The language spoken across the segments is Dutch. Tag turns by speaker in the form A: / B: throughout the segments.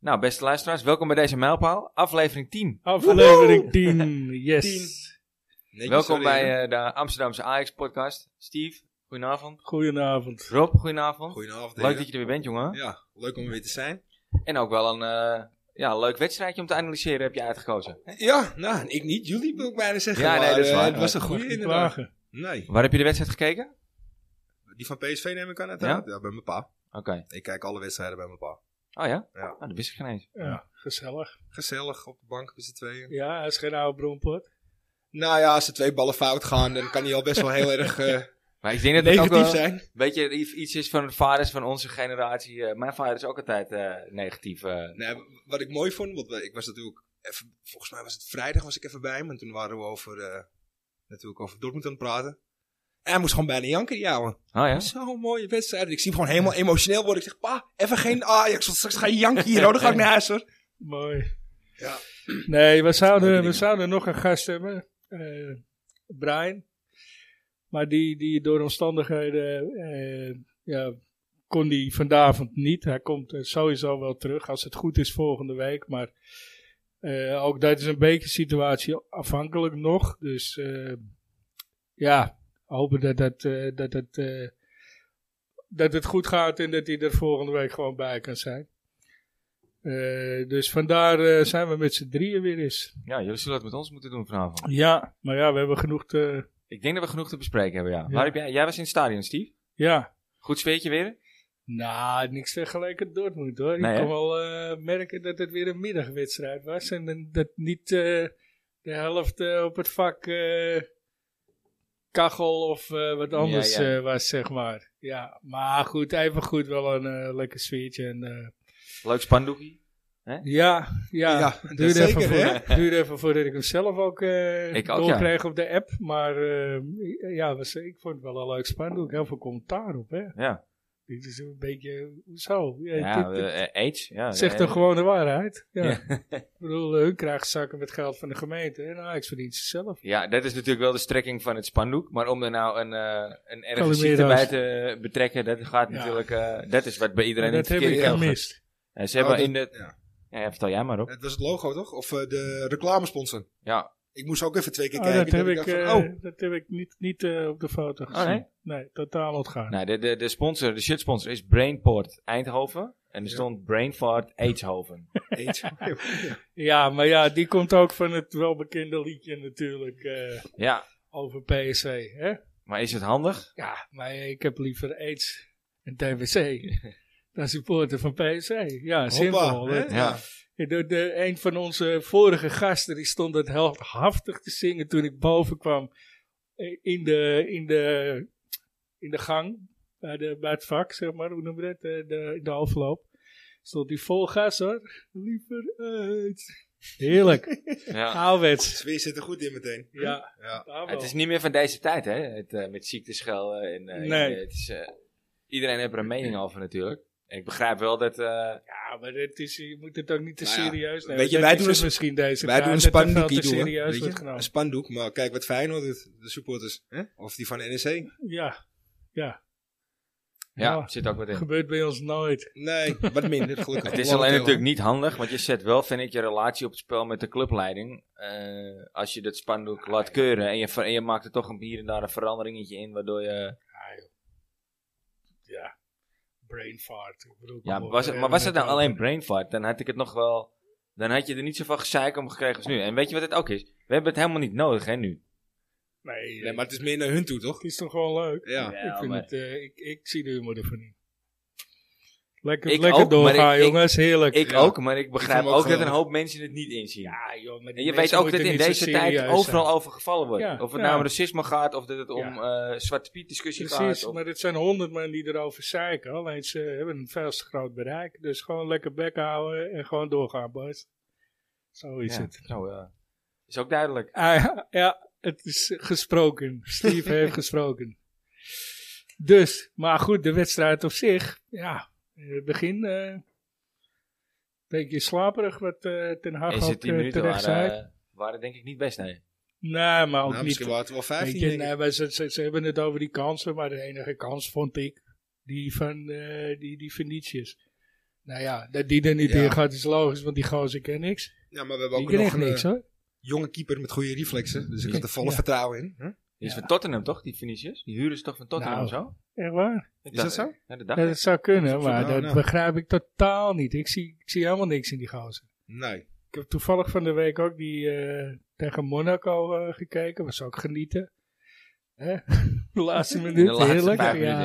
A: Nou, beste luisteraars, welkom bij deze mijlpaal. Aflevering 10.
B: Aflevering 10. Yes.
C: Netjes,
A: welkom
C: sorry, hè?
A: bij eh, de Amsterdamse Ajax-podcast. Steve, goedenavond.
B: Goedenavond.
A: Rob, goedenavond.
C: Goedenavond.
A: Leuk
C: heren.
A: dat je er weer bent, jongen.
C: Ja, leuk om er weer te zijn.
A: En ook wel een eh, ja, leuk wedstrijdje om te analyseren heb je uitgekozen.
C: Ja, nou, ik niet. Jullie wil ik bijna zeggen.
A: Ja, nee,
C: maar,
A: dat is
C: eh,
A: waar.
C: Het was een
B: Mag
C: goede
B: niet
C: inderdaad.
B: klagen.
C: Nee,
A: Waar heb je de wedstrijd gekeken?
C: die van PSV neem ik aan uiteraard. Ja? bij mijn pa.
A: Oké.
C: Ik kijk alle wedstrijden bij mijn pa.
A: Oh ja?
C: Ja.
A: Nou, dat wist ik geen eens.
B: Ja, gezellig.
C: Gezellig op de bank met z'n tweeën.
B: Ja, hij is geen oude brompot.
C: Nou ja, als er twee ballen fout gaan, dan kan hij al best wel heel erg eh,
A: Maar ik denk dat het ook
C: negatief
A: wel
C: zijn.
A: weet je, iets is van de vaders van onze generatie. eh, mijn vader is ook altijd eh, negatief. eh.
C: Nee, w- wat ik mooi vond, want eh, ik was natuurlijk, even, volgens mij was het vrijdag was ik even bij hem. En toen waren we over, eh, natuurlijk over Dortmund aan het praten. En hij moest gewoon bijna janken, die ouwe.
A: Oh ja?
C: Zo'n mooie wedstrijd. Ik zie hem gewoon helemaal emotioneel worden. Ik zeg, pa, even geen Ajax, want straks ga je janken hier. hoor. Dan ga ik naar huis, hoor.
B: Mooi.
C: Ja.
B: Nee, we zouden,
C: Leuke
B: we
C: dingen.
B: zouden nog een gast hebben. eh, Brian. Maar die, die door omstandigheden eh, ja, kon die vanavond niet. Hij komt eh, sowieso wel terug als het goed is volgende week. Maar eh, ook dat is een beetje situatie afhankelijk nog. Dus eh, ja, hopen dat, dat, eh, dat, dat, eh, dat het goed gaat en dat hij er volgende week gewoon bij kan zijn. Eh, dus vandaar eh, zijn we met z'n drieën weer eens.
A: Ja, jullie zullen het met ons moeten doen vanavond.
B: Ja, maar ja, we hebben genoeg te...
A: Ik denk dat we genoeg te bespreken hebben, ja.
B: Ja.
A: Waar heb jij, jij was in het stadion, Steve.
B: Ja.
A: Goed zweetje weer?
B: Nou, niks vergeleken Dortmund hoor.
A: Nee,
B: ik
A: hè?
B: kon wel eh, merken dat het weer een middagwedstrijd was. En dan dat niet eh, de helft eh, op het vak eh, kachel of eh, wat anders
A: Ja, ja.
B: eh, was, zeg maar. Ja, maar goed, even goed wel een eh, lekker sfeertje. En, eh,
A: Leuk spandoekie.
B: ja, ja,
C: Ja, dat
B: duurde,
C: zeker,
B: even
C: hè?
B: voor, duurde even voordat ik hem zelf ook eh
A: Ik ook,
B: doorkreeg op de app. Maar eh, ja, was, ik vond het wel een leuk spandoek. Heel veel commentaar op, hè.
A: Ja.
B: Dit is een beetje, hoezo? Ja,
A: Ja,
B: dit- dit
A: eh, AIDS. Ja,
B: zegt
A: eh,
B: toch gewoon de waarheid? Ja.
A: Ja.
B: ik bedoel, eh, hun krijgen zakken met geld van de gemeente en Ajax verdient ze zelf.
A: Ja, dat is natuurlijk wel de strekking van het spandoek. Maar om er nou een, eh een erge
B: Calimera's.
A: ziekte bij te betrekken, dat gaat
B: Ja.
A: natuurlijk... eh, dat is wat bij iedereen
B: En
A: in het
B: dat heb ik
A: verkeerde geld gaat.
B: gemist.
A: Eh, Ze hebben
C: Oh, dat-
A: in de...
C: ja.
A: Ja, ja, vertel jij maar op.
C: Het was het logo, toch? Of eh, de reclamesponsor.
A: Ja.
C: Ik moest ook even twee keer
B: Oh,
C: kijken.
B: dat, heb ik,
C: dacht van,
B: eh,
C: oh,
B: dat heb ik niet, niet eh, op de foto gezien.
A: Oh, nee?
B: totaal ontgaan.
A: Nou, de, de, de sponsor, de shirtsponsor is Brainport Eindhoven. En er
C: Ja.
A: stond Brainfart Aidshoven.
C: eet.
B: Ja, maar ja, die komt ook van het welbekende liedje natuurlijk eh,
A: Ja,
B: over PSV. Hè?
A: maar is het handig?
B: Ja, maar ik heb liever AIDS en TBC dan supporter van PSV. Ja, simpel.
C: Hoppa, hè?
B: hè? De, de, een van onze vorige gasten die stond het heldhaftig te zingen toen ik boven kwam eh, in de, in de, in de gang bij, de, bij het vak, zeg maar, hoe noemen we dat, de, de, in de afloop. Stond die vol gas hoor. Liever uit. Heerlijk.
A: Ja.
B: Ouderwets.
C: Sfeer zit er goed in meteen.
B: Ja,
C: Ja.
B: daar wel.
A: Het is niet meer van deze tijd, hè? Het, eh, met ziekteschelden. En, eh,
B: Nee.
A: het is, eh, iedereen heeft er een mening over natuurlijk. En ik begrijp wel dat... eh,
B: Ja, maar het is, je moet het ook niet te
C: Nou ja,
B: serieus nemen.
C: weet je,
B: Dat
C: wij
B: is
C: doen
B: het
C: een-
B: misschien deze
C: Wij
B: tijd,
C: doen een
B: dat er veel
C: spandoekie,
B: te
C: doen, hè.
B: serieus
C: Weet
B: wordt
C: je? Een
B: genomen.
C: spandoek, maar kijk wat Feyenoord doet, de supporters. Hè? Of die van E NEC.
B: Ja, ja.
A: ja,
B: Ja.
A: zit ook wat in.
B: Gebeurt bij ons nooit.
C: Nee, wat minder, gelukkig.
A: Het is alleen natuurlijk niet handig, want je zet wel, vind ik, je relatie op het spel met de clubleiding. Eh, als je dat spandoek laat keuren en je, ver- en je maakt er toch een, hier en daar een veranderingetje in, waardoor je...
B: Brain fart. Ik bedoel,
A: Ja,
B: kom op,
A: was het,
B: we
A: maar was het
B: hebben
A: nou alleen brain fart, dan had ik het nog wel... Dan had je er niet zoveel gezeik om gekregen als nu. En weet je wat het ook is? We hebben het helemaal niet nodig, hè, nu.
B: Nee,
C: Nee,
B: maar
C: maar het is meer naar hun toe, toch? Nou,
B: het is toch gewoon leuk?
C: Ja.
A: Ja,
B: ik, vind
A: maar-
B: het, eh, ik, ik zie de humor ervan in. Lekker,
A: Ik
B: lekker
A: ook, maar
B: doorgaan,
A: ik- ik-
B: jongens. Heerlijk.
A: Ik
C: Ja.
A: ook, maar ik begrijp
C: hem
A: ook,
C: ook
A: dat een
C: geweldig.
A: hoop mensen het niet inzien.
B: ja, joh, maar die
A: en je weet
B: mensen
A: ook dat
B: moeten
A: in
B: niet zo
A: deze tijd
B: serieus
A: overal
B: zijn.
A: over gevallen wordt.
B: Ja,
A: of het
B: ja.
A: nou om racisme gaat, of dat het om eh Zwarte Piet discussie
B: Precies,
A: gaat. of-
B: maar het zijn honderd man die erover zeiken. Alleen ze hebben een veel te groot bereik. Dus gewoon lekker bek houden en gewoon doorgaan, boys. Zo is
A: Ja,
B: het.
A: Nou, ja. is ook duidelijk.
B: Ah, ja, ja, het is gesproken. Steve heeft gesproken. Dus, maar goed, de wedstrijd op zich. Ja, in het begin eh, een beetje slaperig wat eh, Ten Hag
A: Is het
B: ook
A: 10
B: eh,
A: minuten
B: terecht
A: waren,
B: zei.
A: eh, waren denk ik niet best, nee.
B: Nee, maar ook
C: Nou,
B: niet.
C: misschien waren het wel
B: Weet
C: 15.
B: je,
C: denk ik.
B: nee, maar ze, ze, ze hebben het over die kansen, maar de enige kans vond ik die van, eh die, die Venetius. Nou ja, dat die er niet
C: Ja.
B: in gaat is logisch, want die gozer ken niks.
C: Ja, maar we hebben
B: Die
C: ook
B: ken
C: nog
B: echt
C: een
B: niks
C: eh,
B: hoor.
C: jonge keeper met goede reflexen. Dus ik had er volle
B: Ja.
C: vertrouwen in. Hm?
A: Die is
B: Ja.
A: van Tottenham toch, die Vinicius? Die huren ze toch van Tottenham
B: Nou,
A: of zo?
B: Echt waar?
A: Ik
C: Is dat
A: dacht-
C: zo?
A: Ja, dat
B: Dat,
A: dacht ik.
B: zou kunnen,
C: dat is
B: maar
C: nou,
B: dat
C: nou.
B: begrijp ik totaal niet. Ik zie, ik zie helemaal niks in die gozer.
C: Nee.
B: Ik heb toevallig van de week ook die eh, tegen Monaco eh, gekeken. Was ook genieten. Hè? De laatste minuut,
A: In de laatste
B: heerlijk.
A: vijf minuten,
B: ja.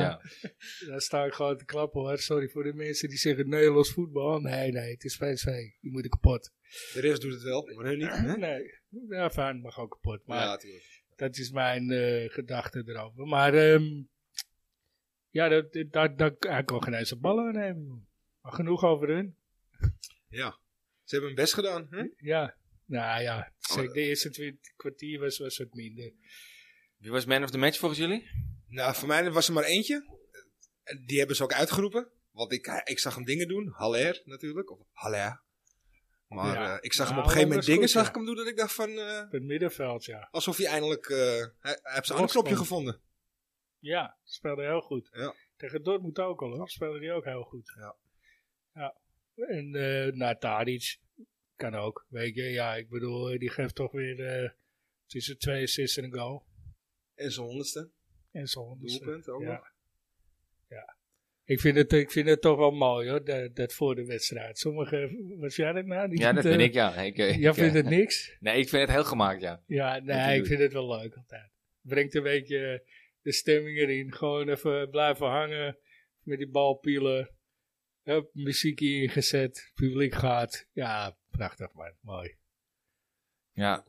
A: ja.
B: Daar sta ik gewoon te klappen hoor. Sorry voor de mensen die zeggen Nederlands voetbal. Nee, nee, het is PSV. Die moeten kapot.
C: De rest doet het wel, maar hun niet. Hè?
B: Nee, ja, fijn, mag ook kapot. Maar
C: Maar ja, tuurlijk.
B: dat is mijn eh, gedachte erover. Maar ehm, ja, dat, dat, dat, hij kon geen eens een bal aannemen. joh. Maar genoeg over hun.
C: Ja. Ze hebben hun best gedaan.
B: Hm?
C: Hè?
B: Ja, nou ja. zeg, de eerste twint- kwartier was, was wat minder.
A: Wie was man of the match volgens jullie?
C: Nou, voor mij was er maar eentje. En Die hebben ze ook uitgeroepen. Want ik, eh, ik zag hem dingen doen. Haller natuurlijk. Of Haller. Maar
B: Ja.
C: eh, ik zag hem
B: Nou,
C: op een gegeven
B: dat
C: moment
B: is
C: dingen
B: goed,
C: zag
B: ja.
C: ik hem doen. Dat ik dacht van... eh,
B: Op het middenveld, ja.
C: alsof hij eindelijk... eh, hij, hij heeft zijn
B: Los
C: knopje
B: kwam.
C: gevonden.
B: Ja, speelde heel goed.
C: Ja.
B: Tegen Dortmund ook al, hoor. Speelde die ook heel goed.
C: Ja.
B: ja. En eh nou, Tadic kan ook, weet je. Ja, ik bedoel, eh, die geeft toch weer eh, tussen twee assists en een goal.
C: En zijn honderdste.
B: En zo'n honderdste.
C: Doelpunt ook
B: ja.
C: nog.
B: Ik vind, het, ik vind het toch wel mooi, hoor, dat, dat voor de wedstrijd. Sommige, was jij dat nou? Die
A: Ja, dat
B: eh,
A: vind ik, ja. Ik, eh,
B: Jij
A: ik,
B: vindt
A: eh,
B: het niks?
A: Nee, ik vind het heel gemaakt, ja.
B: Ja,
A: hij
B: nee, ik
A: doet.
B: vind het wel leuk altijd. Brengt een beetje de stemming erin. Gewoon even blijven hangen met die balpielen. Hup, muziekje ingezet, publiek gaat. Ja, prachtig man, mooi.
A: Ja?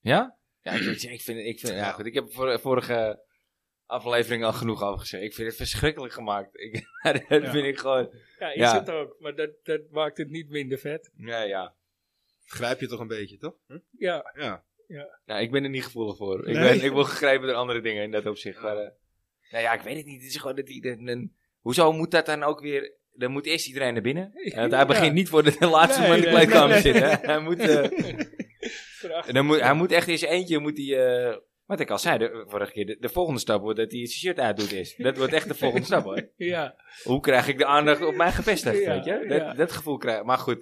A: Ja? Ja, ik, ik- ik vind het... Ik vind, ja, goed. Ik heb voor, vorige aflevering al genoeg afgezegd. Ik vind het verschrikkelijk gemaakt. Ik, dat
B: Ja.
A: vind ik gewoon...
B: Ja, is
A: Ja.
B: het ook, maar dat, dat maakt het niet minder vet.
A: Nee, ja.
C: Grijp je toch een beetje, toch? Hm?
B: Ja,
C: Ja.
A: Nou, ik ben er niet gevoelig voor. Ik,
C: Nee.
A: ben, ik word gegrepen door andere dingen in dat opzicht. Maar, eh, nou ja, ik weet het niet. Het is gewoon dat die... dat- een- hoezo moet dat dan ook weer... Dan moet eerst iedereen naar binnen. Want hij
B: Ja.
A: begint niet voor de, laatste
B: Nee,
A: man in de
B: nee,
A: kleedkamer
B: nee, nee.
A: zitten. hè. Hij moet... eh,
B: prachtig.
A: En dan moet, hij moet echt in zijn eentje, moet hij, eh, wat ik al zei de, vorige keer, de, de volgende stap wordt dat hij zijn shirt uitdoet is. Dat wordt echt de volgende stap hoor.
B: Ja.
A: Hoe krijg ik de aandacht op mij gevestigd,
B: Ja,
A: weet je? Dat,
B: ja.
A: dat gevoel krijg Maar goed,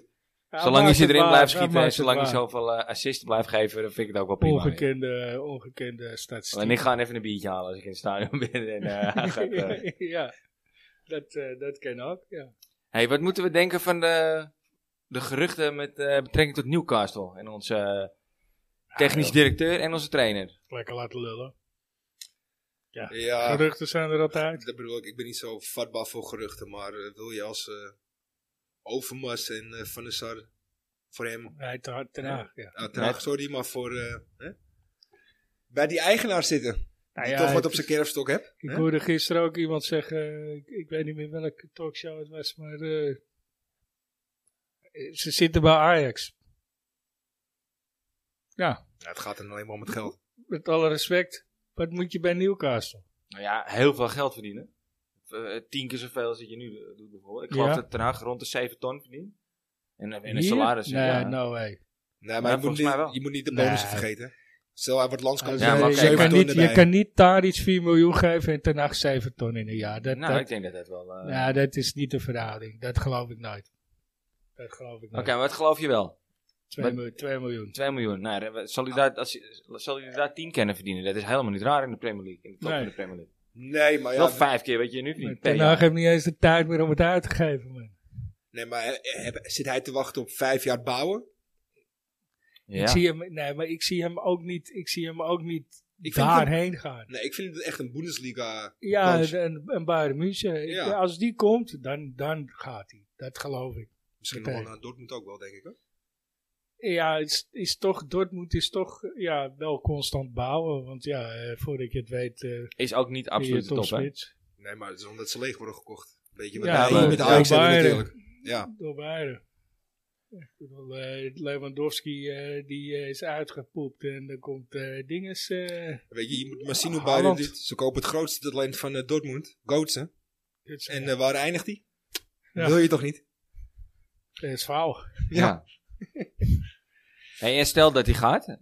B: Hij
A: zolang
B: maakt
A: hij ze
B: het
A: erin
B: waar,
A: blijft
B: hij
A: schieten en
B: maakt het
A: zolang hij
B: waar.
A: zoveel eh, assists blijft geven, dan vind ik het ook wel prima. weer.
B: Ongekende, ongekende statistiek.
A: En ik ga even een biertje halen als ik in het stadion ben. En, eh, hij gaat, eh.
B: ja, dat, eh, dat kan ook, ja.
A: Hey, wat moeten we denken van de, de geruchten met eh, betrekking tot Newcastle en onze eh, technisch
B: joh.
A: directeur en onze trainer?
B: Lekker laten lullen.
C: Ja,
B: Geruchten zijn er altijd.
C: dat bedoel ik. Ik ben niet zo vatbaar voor geruchten. Maar eh, wil je als eh, Overmars en eh, Van der Sar voor hem...
B: Hij te hard ten Haag, ja.
C: Nou, ten Hag, sorry, maar voor... eh, hè? Bij die eigenaar zitten.
B: Nou
C: die
B: ja,
C: toch wat
B: het
C: op zijn kerfstok hebt.
B: Ik
C: hè?
B: hoorde gisteren ook iemand zeggen, ik, ik weet niet meer welke talkshow het was, maar eh, ze zitten bij Ajax. Ja,
C: Ja, het gaat er alleen maar om het geld.
B: met alle respect, wat moet je bij Newcastle?
A: Nou ja, heel veel geld verdienen. Eh, tien keer zoveel als dat je nu eh, doet bijvoorbeeld. Ik geloof
B: Ja.
A: dat Ten Hag rond de 7 ton verdient. En, eh, en een
B: Hier?
A: salaris.
B: Nee, nou,
A: ja.
B: no way.
C: Nee, maar
A: Ja,
C: je, moet
A: volgens mij wel.
C: niet, je moet niet de bonussen
B: Nee.
C: vergeten. Stel, hij wordt landskampioen.
A: Ja,
B: Eh,
A: maar
C: maar
A: oké,
B: je,
A: zeven
B: kan
A: ton
B: niet, je kan niet daar iets 4 miljoen geven en ten 8 7 ton in een jaar. Dat,
A: nou,
B: dat-
A: ik denk dat dat wel... eh,
B: ja, dat is niet de verhouding, dat geloof ik nooit. Dat geloof ik
A: Oké,
B: nooit.
A: maar wat geloof je wel?
B: 2, miljoen, 2 miljoen.
A: 2 miljoen. Nou, dan- zal u daar, als, je- zal u daar 10 kennen verdienen? Dat is helemaal niet raar in de Premier League. In de top
B: Nee.
A: van de Premier League.
C: Nee, maar
A: wel
C: ja,
A: vijf keer wat je nu
B: Maar
A: verdient. per
B: Ten
A: jaar.
B: Hag heeft niet eens de tijd meer om het uit te geven, man.
C: nee, maar eh, heb- zit hij te wachten op vijf jaar bouwen?
A: Ja.
B: Ik zie hem, nee, maar ik zie hem ook niet, ik zie hem ook niet
C: Ik vind
B: daarheen gaan.
C: Nee, ik vind het echt een Bundesliga.
B: Ja,
C: Dans.
B: een, een Bayern München. Ik-
C: Ja.
B: Als die komt, dan, dan gaat hij. Dat geloof ik.
C: Misschien
B: Oké.
C: nog wel naar Dortmund ook wel, denk ik. Hoor.
B: Ja, het is, is toch, Dortmund is toch ja, wel constant bouwen. Want ja, eh, voordat je het weet, eh
A: Is ook niet absoluut de
B: ben je
A: top, hè?
B: topspits.
C: Nee, maar het is omdat ze leeg worden gekocht. Weet je wat
B: Ja,
C: ja,
A: maar-
C: met de
A: ja,
C: Ajax hebben
B: Bayern.
C: natuurlijk. Ja,
B: Door Bayern. Ik bedoel, eh, Lewandowski eh, die eh, is uitgepoept en dan komt eh dinges. eh,
C: weet je, je moet maar zien hoe
B: Haaland.
C: Bayern dit. Ze kopen het grootste talent van eh, Dortmund, Goetsen.
B: dit
C: En
B: zijn-
C: eh, waar eindigt hij?
B: Ja.
C: Wil je toch niet?
B: dat is fout.
A: Ja. hey, en stel dat hij gaat.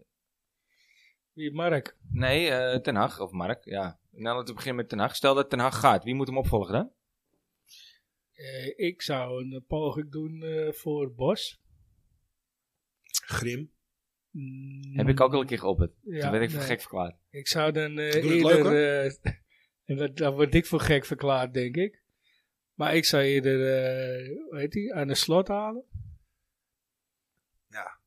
B: Wie Mark?
A: Nee, eh, Ten Hag of Mark, ja. Nou, laten we beginnen met Ten Hag. Stel dat Ten Hag gaat, wie moet hem opvolgen dan?
B: Eh, ik zou een poging doen eh, voor Bos.
C: Grim.
B: Mm,
A: Heb ik ook al een keer geopperd.
B: ja,
A: Toen werd ik voor
B: nee.
A: gek verklaard.
B: Ik zou dan eh
C: Doe het
B: eerder... eh, en dat, dan word ik voor gek verklaard, denk ik. Maar ik zou eerder, eh, hoe heet die, aan de slot halen.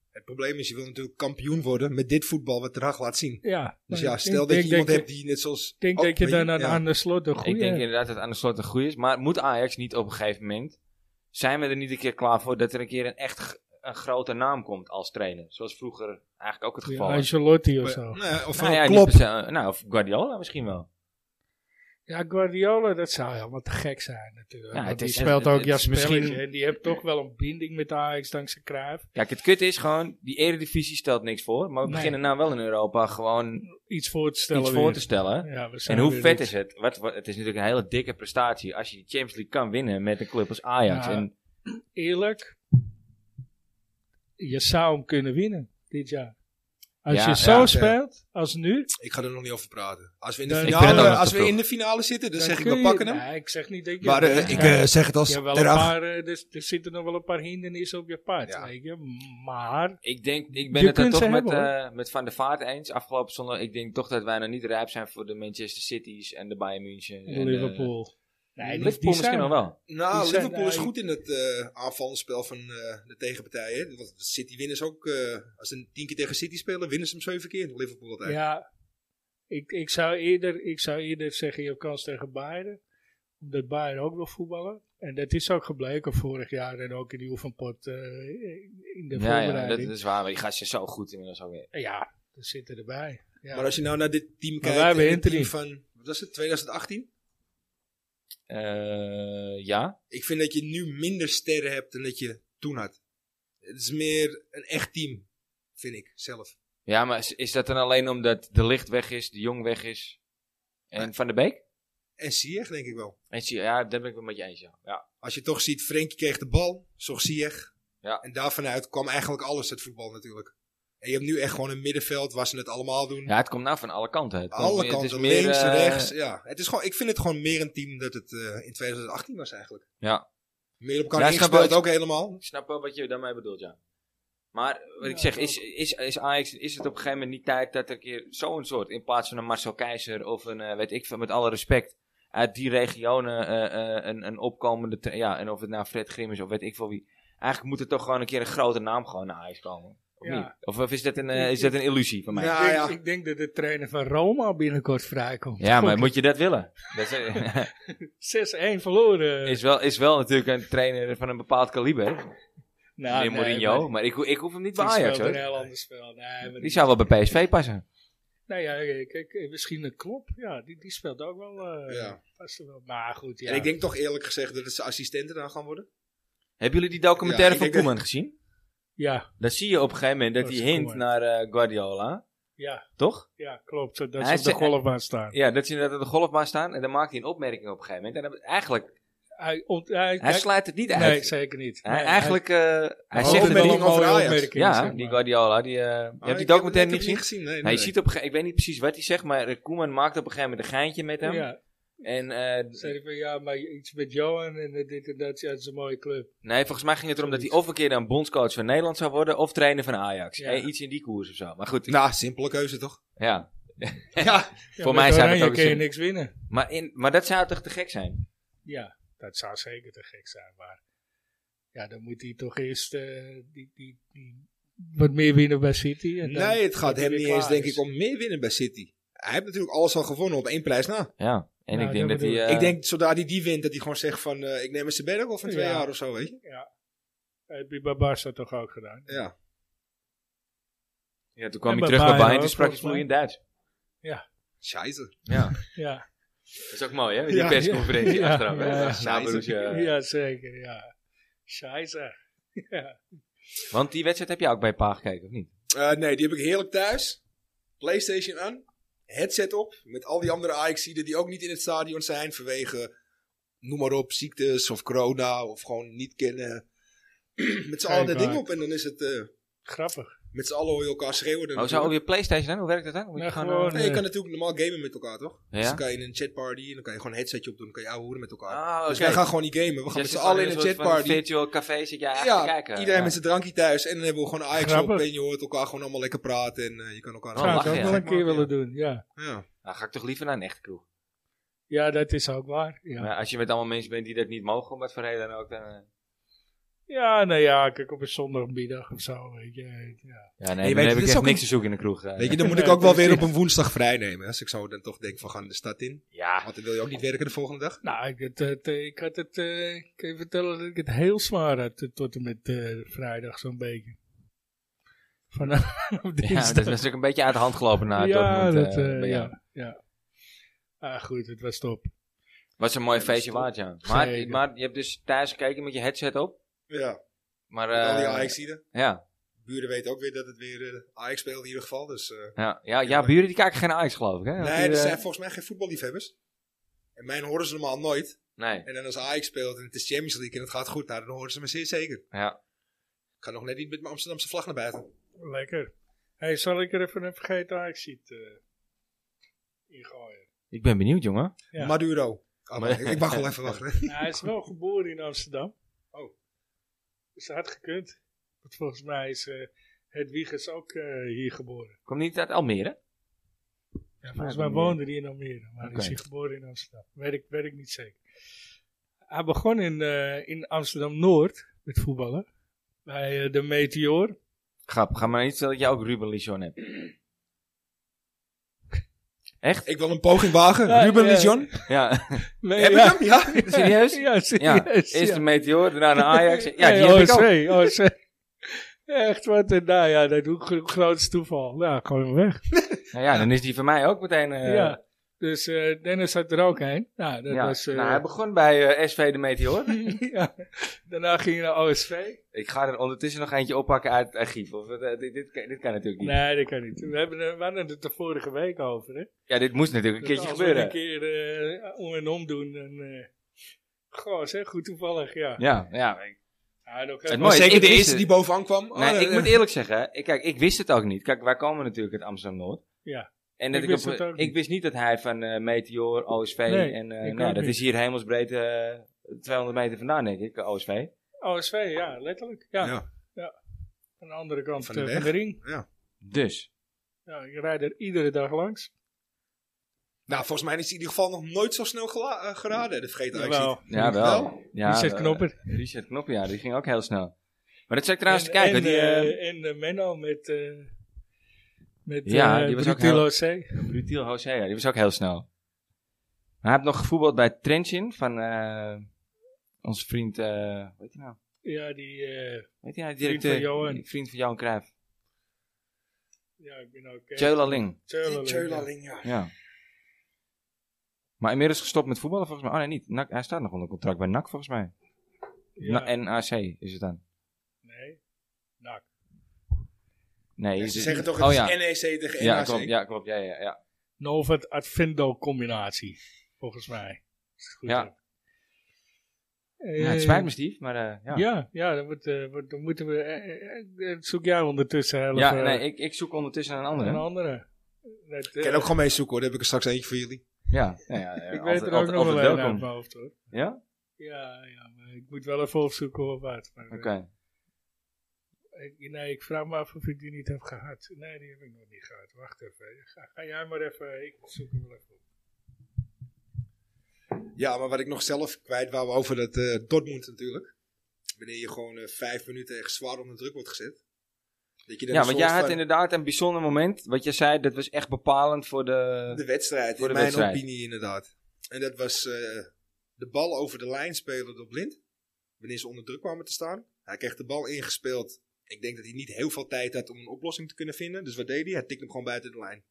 C: Het probleem is, je wil natuurlijk kampioen worden met dit voetbal wat Draag laat zien.
B: Ja.
C: Dus
B: maar
C: ja,
B: ik
C: stel dat
B: denk
C: je iemand
B: je-
C: hebt die net zoals...
B: Ik denk
C: ook,
B: dat je
C: weet
B: dan aan,
C: ja.
B: aan de slot een goede...
A: Ik denk inderdaad dat het aan de slot een goede is. Maar moet Ajax niet op een gegeven moment... Zijn we er niet een keer klaar voor dat er een keer een echt g- een grote naam komt als trainer? Zoals vroeger eigenlijk ook het geval was.
B: Ancelotti of
C: Maar-
B: zo.
C: nou ja, of
A: Nou
C: een
A: ja, niet
C: klop.
A: per se- eh, nou, of Guardiola misschien wel.
B: Ja, Guardiola, dat zou helemaal te gek zijn natuurlijk.
A: Ja,
B: Want
A: het
B: die
A: is-
B: speelt
A: het-
B: ook
A: het
B: ja
A: is misschien-
B: spelletjes en die heeft toch wel een binding met Ajax dankzij Cruijff.
A: Kijk, het kut is gewoon, die eredivisie stelt niks voor. Maar we
B: Nee.
A: beginnen nou wel in Europa gewoon
B: Iets voor te stellen
A: iets
B: weer.
A: voor te stellen.
B: Ja, we
A: En
B: zijn
A: hoe
B: weer
A: vet
B: niet-
A: is het? Wat, wat- het is natuurlijk een hele dikke prestatie als je die Champions League kan winnen met een club als Ajax.
B: Ja.
A: En
B: Eerlijk, je zou hem kunnen winnen dit jaar. Als
A: Ja,
B: je zo
A: ja,
B: speelt als nu,
C: Ik ga er nog niet over praten. Als we in de,
B: Dan- Ik
A: vind het
C: finale,
A: ook nog
C: als
A: te
C: we in
A: vroeg.
C: de finale zitten, dan,
B: dan
C: zeg ik,
B: kun
C: we
B: je-
C: pakken hem.
B: Nee, ik zeg niet dat je...
C: maar eh,
B: Ja,
C: ik
B: ja,
C: eh, zeg het als
B: je hebt wel een
C: Draag.
B: paar, eh, er, er zitten nog wel een paar hindernissen op je pad,
C: Ja.
B: weet je. Maar,
A: ik denk, ik ben
B: Je
A: het daar
B: kunt
A: toch
B: ze
A: met,
B: hebben,
A: eh, met Van der Vaart eens. Afgelopen zondag, ik denk toch dat wij nog niet rijp zijn voor de Manchester Cities en de Bayern München. en, eh,
B: Liverpool...
A: Nee,
B: die-
A: Liverpool
B: die
A: misschien
B: zijn
A: nog
B: er.
A: wel.
C: Nou,
B: Die zijn-
C: Liverpool is
B: nee.
C: goed in het eh aanvalspel van eh, de tegenpartijen. Want City winnen ze ook. eh, als ze een tien keer tegen City spelen, winnen ze hem zeven keer. Liverpool altijd.
B: Ja, ik, ik, zou eerder, ik zou eerder zeggen, je hebt kans tegen Bayern. Omdat Bayern ook wil voetballen. En dat is ook gebleken vorig jaar en ook in die oefenpot eh, in de
A: Ja, ja, dat
B: voorbereiding.
A: is waar. maar Die gasten zijn zo goed inmiddels alweer.
B: Ja, dat zit erbij. Ja.
C: Maar als je nou naar dit team
B: wij
C: kijkt.
B: hebben
C: en dit team
B: Anthony.
C: van, wat was het, 2018?
A: Eh, ja.
C: Ik vind dat je nu minder sterren hebt dan dat je toen had. Het is meer een echt team, vind ik zelf.
A: ja, maar is, is dat dan alleen omdat de licht weg is, de jong weg is en Van der Beek?
C: En Ziyech denk ik wel.
A: En zie, ja, daar ben ik wel met je eens. Ja. Ja.
C: Als je toch ziet, Frenkie kreeg de bal, zocht Ziyech.
A: Ja.
C: En daarvanuit kwam eigenlijk alles het voetbal natuurlijk. En je hebt nu echt gewoon een middenveld waar ze het allemaal doen.
A: Ja, het komt nou van alle kanten. Het komt-
C: Alle
A: het
C: kanten,
A: meer,
C: links,
A: eh,
C: rechts. Ja. Het is gewoon, ik vind het gewoon meer een team dat het eh, in 2018 was eigenlijk.
A: Ja.
C: Meer op elkaar
A: Ja, ik snap wel
C: ingespeeld ook helemaal.
A: Ik snap wel wat je daarmee bedoelt, ja. Maar wat ik
B: Ja,
A: zeg,
B: klopt.
A: is, is, is Ajax, is het op een gegeven moment niet tijd dat er een keer zo'n soort, in plaats van een Marcel Keizer of een, eh, weet ik veel, met alle respect, uit die regionen eh, eh, een, een opkomende, tra- ja, en of het nou Fred Grim is of weet ik veel wie. Eigenlijk moet er toch gewoon een keer een grote naam gewoon naar Ajax komen. Of,
B: Ja.
A: niet? of, of is, dat een, eh, is dat een illusie van mij? Ja,
B: ik,
C: Ja,
B: denk,
C: ja.
B: ik denk dat de trainer van Roma binnenkort vrijkomt.
A: maar moet je dat willen? Dat is, eh,
B: 6-1 verloren.
A: is, wel, is wel natuurlijk een trainer van een bepaald kaliber,
B: Nou,
A: meneer
B: nee,
A: Mourinho,
B: maar
A: maar ik, ho- ik hoef hem niet
B: die
A: bij Ajax
B: speelt een
A: hoor.
B: heel ander spel. Nee, maar
A: Die zou wel bij PSV passen.
B: Nou ja, kijk, eh, misschien een klop. Ja, die, die speelt ook wel. eh
C: Ja.
B: past er wel. Maar goed, ja.
C: En ik denk toch eerlijk gezegd dat het zijn assistenten dan gaan worden.
A: Hebben jullie die documentaire
C: Ja, ik
A: van
C: denk dat-
A: Koeman gezien?
B: ja,
A: Daar zie je op een gegeven moment dat
B: Dat
A: hij
B: is
A: hint
B: Koeman.
A: naar eh, Guardiola.
B: Ja.
A: Toch?
B: Ja, klopt. Dat
A: Hij
B: ze op de
A: zei-
B: golfbaan staan.
A: Ja, dat ze inderdaad op de golfbaan staan. En dan maakt hij een opmerking op een gegeven moment. En dan, eigenlijk,
B: Hij, ont, hij,
A: hij
B: hij-
A: sluit het niet uit.
B: Nee, zeker niet.
A: Hij,
B: Nee,
A: eigenlijk, eh, hij
B: hij
A: zegt
B: hoopt
A: het
C: wel
A: wel.
C: een over Ajax.
A: Ja,
B: zeg maar.
A: die Guardiola. Die, eh, je
C: Ah,
A: hebt die
C: ik heb het
A: documentaire niet
C: net
A: gezien?
C: gezien. Nee,
A: Nee,
C: nee.
A: je ziet op een gege- ik weet niet precies wat hij zegt, maar eh, Koeman maakt op een gegeven moment een geintje met hem.
B: Ja,
A: En, eh,
B: zei hij van ja, maar iets met Johan en eh, dit en dat. Ja, het is een mooie club.
A: nee, volgens mij ging het erom dat hij
B: Zoiets.
A: of een keer dan bondscoach van Nederland zou worden, of trainer van Ajax.
B: Ja.
A: Eh, iets in die koers of zo. Maar goed,
C: Nou, simpele keuze toch?
A: ja.
C: ja.
B: Ja,
A: Voor
B: met
A: mij zou
B: Oranje
A: dat ook
B: kun je
A: eens-
B: niks winnen.
A: Maar, in, maar dat zou toch te gek zijn?
B: Ja, dat zou zeker te gek zijn. Maar ja, dan moet hij toch eerst eh, die, die, die wat meer winnen bij City. En dan-
C: Nee, het gaat
B: dat hij
C: hem
B: weer
C: niet
B: klaar dus.
C: eens denk
B: is.
C: ik om meer winnen bij City. Hij heeft natuurlijk alles al gewonnen op één prijs na.
A: Ja, en
B: Nou,
A: ik denk
B: dat
A: dat hij...
B: bedoel
A: eh,
C: Ik denk zodra hij die wint dat hij gewoon zegt van eh, ik neem een Sebedo van twee
B: Ja.
C: jaar of zo weet je.
B: Heb je bij Barca toch ook gedaan?
C: Ja.
A: ja, toen kwam
B: En
A: hij
B: bij
A: terug bij
B: Bayern
A: Bayern en toen
B: ook,
A: sprak hij vloeiend
B: volgens
A: Duits.
C: Scheisse.
A: Ja,
B: Ja,
A: dat is ook mooi hè, die
C: Ja,
A: persconferentie
B: ja,
A: achteraf. hè. dus, eh,
B: ja.
A: Dat is een sabeltje.
B: ja. zeker. Ja. Scheisse.
A: Want die wedstrijd heb je ook bij Pa gekeken, of niet?
C: Eh, nee, die heb ik heerlijk thuis. Playstation aan. Headset op. Met al die andere Ajaxiden die ook niet in het stadion zijn. Vanwege, noem maar op, ziektes of corona. Of gewoon niet kennen. met z'n allen dat
B: Kijk,
C: ding op. En dan is het eh,
B: Grappig.
C: Met z'n allen hoor je elkaar schreeuwen. dan
A: Oh, zou ook
C: natuurlijk.
A: weer PlayStation dan? Hoe werkt dat dan? Moet je
B: Ja,
A: gewoon,
B: gewoon-
A: eh,
C: Nee, je
B: Nee.
C: kan natuurlijk normaal gamen met elkaar, toch?
A: Ja.
C: Dus dan kan je in een chatparty en dan kan je gewoon een headsetje op doen. Dan kan je ouwe hoeren met elkaar.
B: Oh,
A: Ah,
C: Dus
A: oké. Dus
C: wij gaan gewoon niet gamen. We gaan
A: Jij
C: met z'n
A: zit
C: allen in
A: gewoon
C: een
A: soort van
C: chatparty.
A: virtual café zit jij eigenlijk
C: Ja,
A: te kijken.
C: iedereen
A: Ja.
C: met zijn drankje thuis. En dan hebben we gewoon Ajax op.
B: Grappig.
C: En je hoort elkaar gewoon allemaal lekker praten. En eh, je kan elkaar
A: Oh,
B: Zou
C: allemaal
B: ik
A: lachen,
B: ook
C: gek
B: wel een
C: maken,
B: keer
C: ja.
B: willen doen, ja.
C: Ja.
A: Nou, ga ik toch liever naar een echte kroeg.
B: Ja, dat is ook waar. Ja,
A: Maar als je met allemaal mensen bent die dat niet mogen, om wat voor reden dan ook. Dan, eh,
B: ja nou ja, kijk op een zondagmiddag of zo. Weet je, ja.
A: ja, nee,
C: weet,
A: dan
C: het
A: heb ik
C: is
A: echt
C: ook
A: niks
C: een-
A: te zoeken in de kroeg. eh.
C: Weet je, dan moet
B: Nee,
C: ik ook wel
B: precies.
C: weer op een woensdag vrij nemen. Als ik zo dan toch denk van, gaan de stad in.
A: Ja,
C: Want dan wil je ook niet werken de volgende dag.
B: Nou, ik, het, het, eh, ik had het, eh, ik kan je vertellen dat ik het heel zwaar had eh, tot en met eh, vrijdag zo'n beetje. Vanaf op
A: ja dat is
B: dinsdag.
A: natuurlijk een beetje uit de hand gelopen na
B: ja,
A: Dortmund.
B: dat,
A: eh,
B: eh,
A: bij jou.
B: ja, ja. Ah, goed, het was top.
A: Was een mooi
C: Ja, dat
A: feestje
C: is top.
A: waard, ja. Maar,
B: Zeker.
A: maar je hebt dus thuis gekeken met je headset op.
C: Ja.
A: Maar,
C: Met al die
A: eh,
C: Ajaxiden.
A: ja,
C: Buren weten ook weer dat het weer eh, Ajax speelt in ieder geval. Dus, eh,
A: ja, ja, ja, buren die kijken geen Ajax, geloof ik. Hè? Of die,
C: nee, er
A: eh,
C: zijn volgens mij geen voetballiefhebbers. En mijn horen ze normaal nooit.
A: nee,
C: En dan als Ajax speelt en het is Champions League en het gaat goed, nou, dan horen ze me zeer zeker.
A: ja.
C: Ik ga nog net niet met mijn Amsterdamse vlag naar buiten.
B: Lekker. Hey, zal ik er even een vergeten eh, Ajax-ziet ingooien?
A: Ik ben benieuwd, jongen.
B: Ja.
C: Maduro. Oh,
A: Maar-
C: ik, ik mag wel even wachten.
B: Nou, hij is wel geboren in Amsterdam.
C: Oh.
B: Dus dat had gekund. Want volgens mij is eh Hedwiges ook eh, hier geboren.
A: Komt niet uit Almere?
B: Ja,
A: maar
B: volgens mij
A: dan-
B: woonde hij in Almere, maar
A: Oké.
B: is hij geboren in Amsterdam. Weet ik, weet ik niet zeker. Hij begon in, eh, in Amsterdam-Noord met voetballen. Bij eh, de Meteor.
A: Grap, ga maar niet stellen dat jij ook Ruben Lichon hebt. Echt?
C: Ik wil een poging wagen.
B: Ja,
C: Ruben
B: ja.
C: Legion.
A: Ja,
B: Nee,
C: Heb
B: ja.
C: ik hem? Ja.
A: Serieus?
B: Ja,
A: ja.
B: serieus.
A: Eerst
B: ja.
A: de Meteor, daarna de Ajax. Ja, die
B: Nee,
A: heb ik ook.
B: OSV, OSV. Echt wat, en nou ja, dat doe ik grootste toeval. Nou, gewoon hem weg.
A: Nou ja, dan is die van mij ook meteen... eh,
B: ja. Dus eh, Dennis had er ook een. Nou, dat
A: ja.
B: was... eh,
A: Nou, hij begon bij eh, SV de Meteor.
B: ja. Daarna ging je naar OSV.
A: ik ga er ondertussen nog eentje oppakken uit het archief. Of, eh, dit, dit, kan- dit kan natuurlijk niet.
B: Nee, dat kan niet. We, hebben, er- we hadden het er vorige week over, hè.
A: Ja, dit moest natuurlijk een
B: Dat
A: keertje
B: als we
A: gebeuren.
B: een keer eh, om en om doen, dan... eh goh, zeg, goed toevallig, ja.
A: Ja, ja. ik-
B: Ja, dan
A: Het
B: kan-
A: mooie-
C: zeker
A: ik
C: de
A: wist
C: eerste
A: het.
C: die bovenaan kwam. Oh,
A: Nee,
C: eh,
A: ik moet eerlijk zeggen, ik, kijk, ik wist het ook niet. Kijk, wij komen natuurlijk uit Amsterdam-Noord.
B: Ja.
A: En dat
B: Ik
A: ik,
B: wist
A: op-
B: het ook
A: ik
B: niet.
A: wist niet dat hij van eh, Meteor, OSV
B: Nee,
A: en... eh,
B: ik
A: nou,
B: ook
A: dat
B: niet.
A: is hier hemelsbreed eh 200 meter vandaan, denk ik, OSV.
B: OSV, ja, letterlijk. Ja,
C: ja. Ja.
B: aan de andere kant
C: Van de
B: eh,
C: weg.
B: van de ring.
A: Dus.
B: Ja, ik rijd er iedere dag langs.
C: Nou, volgens mij is hij in ieder geval nog nooit zo snel gela- eh, geraden. Dat vergeet Ajax
B: Jawel.
C: niet.
A: Ja, wel. Ja,
B: Richard
A: eh,
B: Knopper.
A: Richard Knopper, ja, die ging ook heel snel. Maar dat zou ik trouwens
B: en,
A: te kijken.
B: en,
A: die,
B: eh,
A: eh,
B: en eh, Menno met, eh met
A: Ja,
B: eh,
A: die was ook
B: Brutillo
A: heel-
B: C.
A: Brutiel José, ja, die was ook heel snel. Maar hij heeft nog gevoetbald bij Trenchin van eh, onze vriend, eh hoe heet hij nou?
B: Ja, die, eh,
A: Weet hij nou?
B: Vriend
A: directeur?
B: van Johan.
A: Vriend van Johan Cruijff.
B: ja, ik ben ook... eh,
A: Tjöla Ling,
B: Tjölaling.
C: Tjölaling, ja.
A: ja. Maar inmiddels gestopt met voetballen volgens mij. Oh nee, niet. NAC, hij staat nog onder contract bij NAC volgens mij.
B: Ja.
A: Na- Nou, en AC is het dan.
B: Nee. Nak.
A: Nee,
C: Ja,
A: is
C: Ze
A: het-
C: zeggen toch, het
A: oh,
C: is
A: ja.
C: NEC tegen
A: Ja,
C: NAC.
A: klopt. Ja, klopt. Ja, ja, ja.
B: Novat Advendo combinatie, volgens mij. Als ik het goed
A: Ja.
B: heb.
A: Ja, Nou, het
B: Eh,
A: spijt me, Steve, maar eh, ja.
B: Ja, ja dan, moet, eh, wordt- dan moeten we... eh, eh, eh, zoek jij ondertussen heel
A: Ja,
B: even
A: nee, ik, ik zoek ondertussen een andere.
B: eh, een andere. Dat,
C: Ik
B: eh,
C: kan ook gewoon meezoeken hoor. Dan heb ik er straks eentje voor jullie.
A: Ja, nou ja, ja,
B: ik
A: altijd-
B: weet er ook
A: altijd-
B: nog wel
A: altijd
B: een uit
A: welkom.
B: mijn hoofd, hoor.
A: Ja?
B: Ja, ja, maar ik moet wel even opzoeken of wat. maar, eh,
A: Oké.
B: Ik- Nee, ik vraag me af of ik die niet heb gehad. Nee, die heb ik nog niet gehad. Wacht even. Ga, ga jij maar even. Ik zoek hem wel even op.
C: Ja, maar wat ik nog zelf kwijt wou over dat eh Dortmund natuurlijk. Wanneer je gewoon eh, vijf minuten echt zwaar onder druk wordt gezet. Dat je dan
A: Ja, want
C: een soort
A: jij had
C: van-
A: inderdaad een bijzonder moment. Wat jij zei, dat was echt bepalend voor de...
C: De wedstrijd,
A: eh, Voor de
C: in mijn
A: wedstrijd.
C: opinie inderdaad. En dat was eh, de bal over de lijn spelen door Blind. Wanneer ze onder druk kwamen te staan. Hij kreeg de bal ingespeeld. Ik denk dat hij niet heel veel tijd had om een oplossing te kunnen vinden. Dus wat deed hij? Hij tikte hem gewoon buiten de lijn.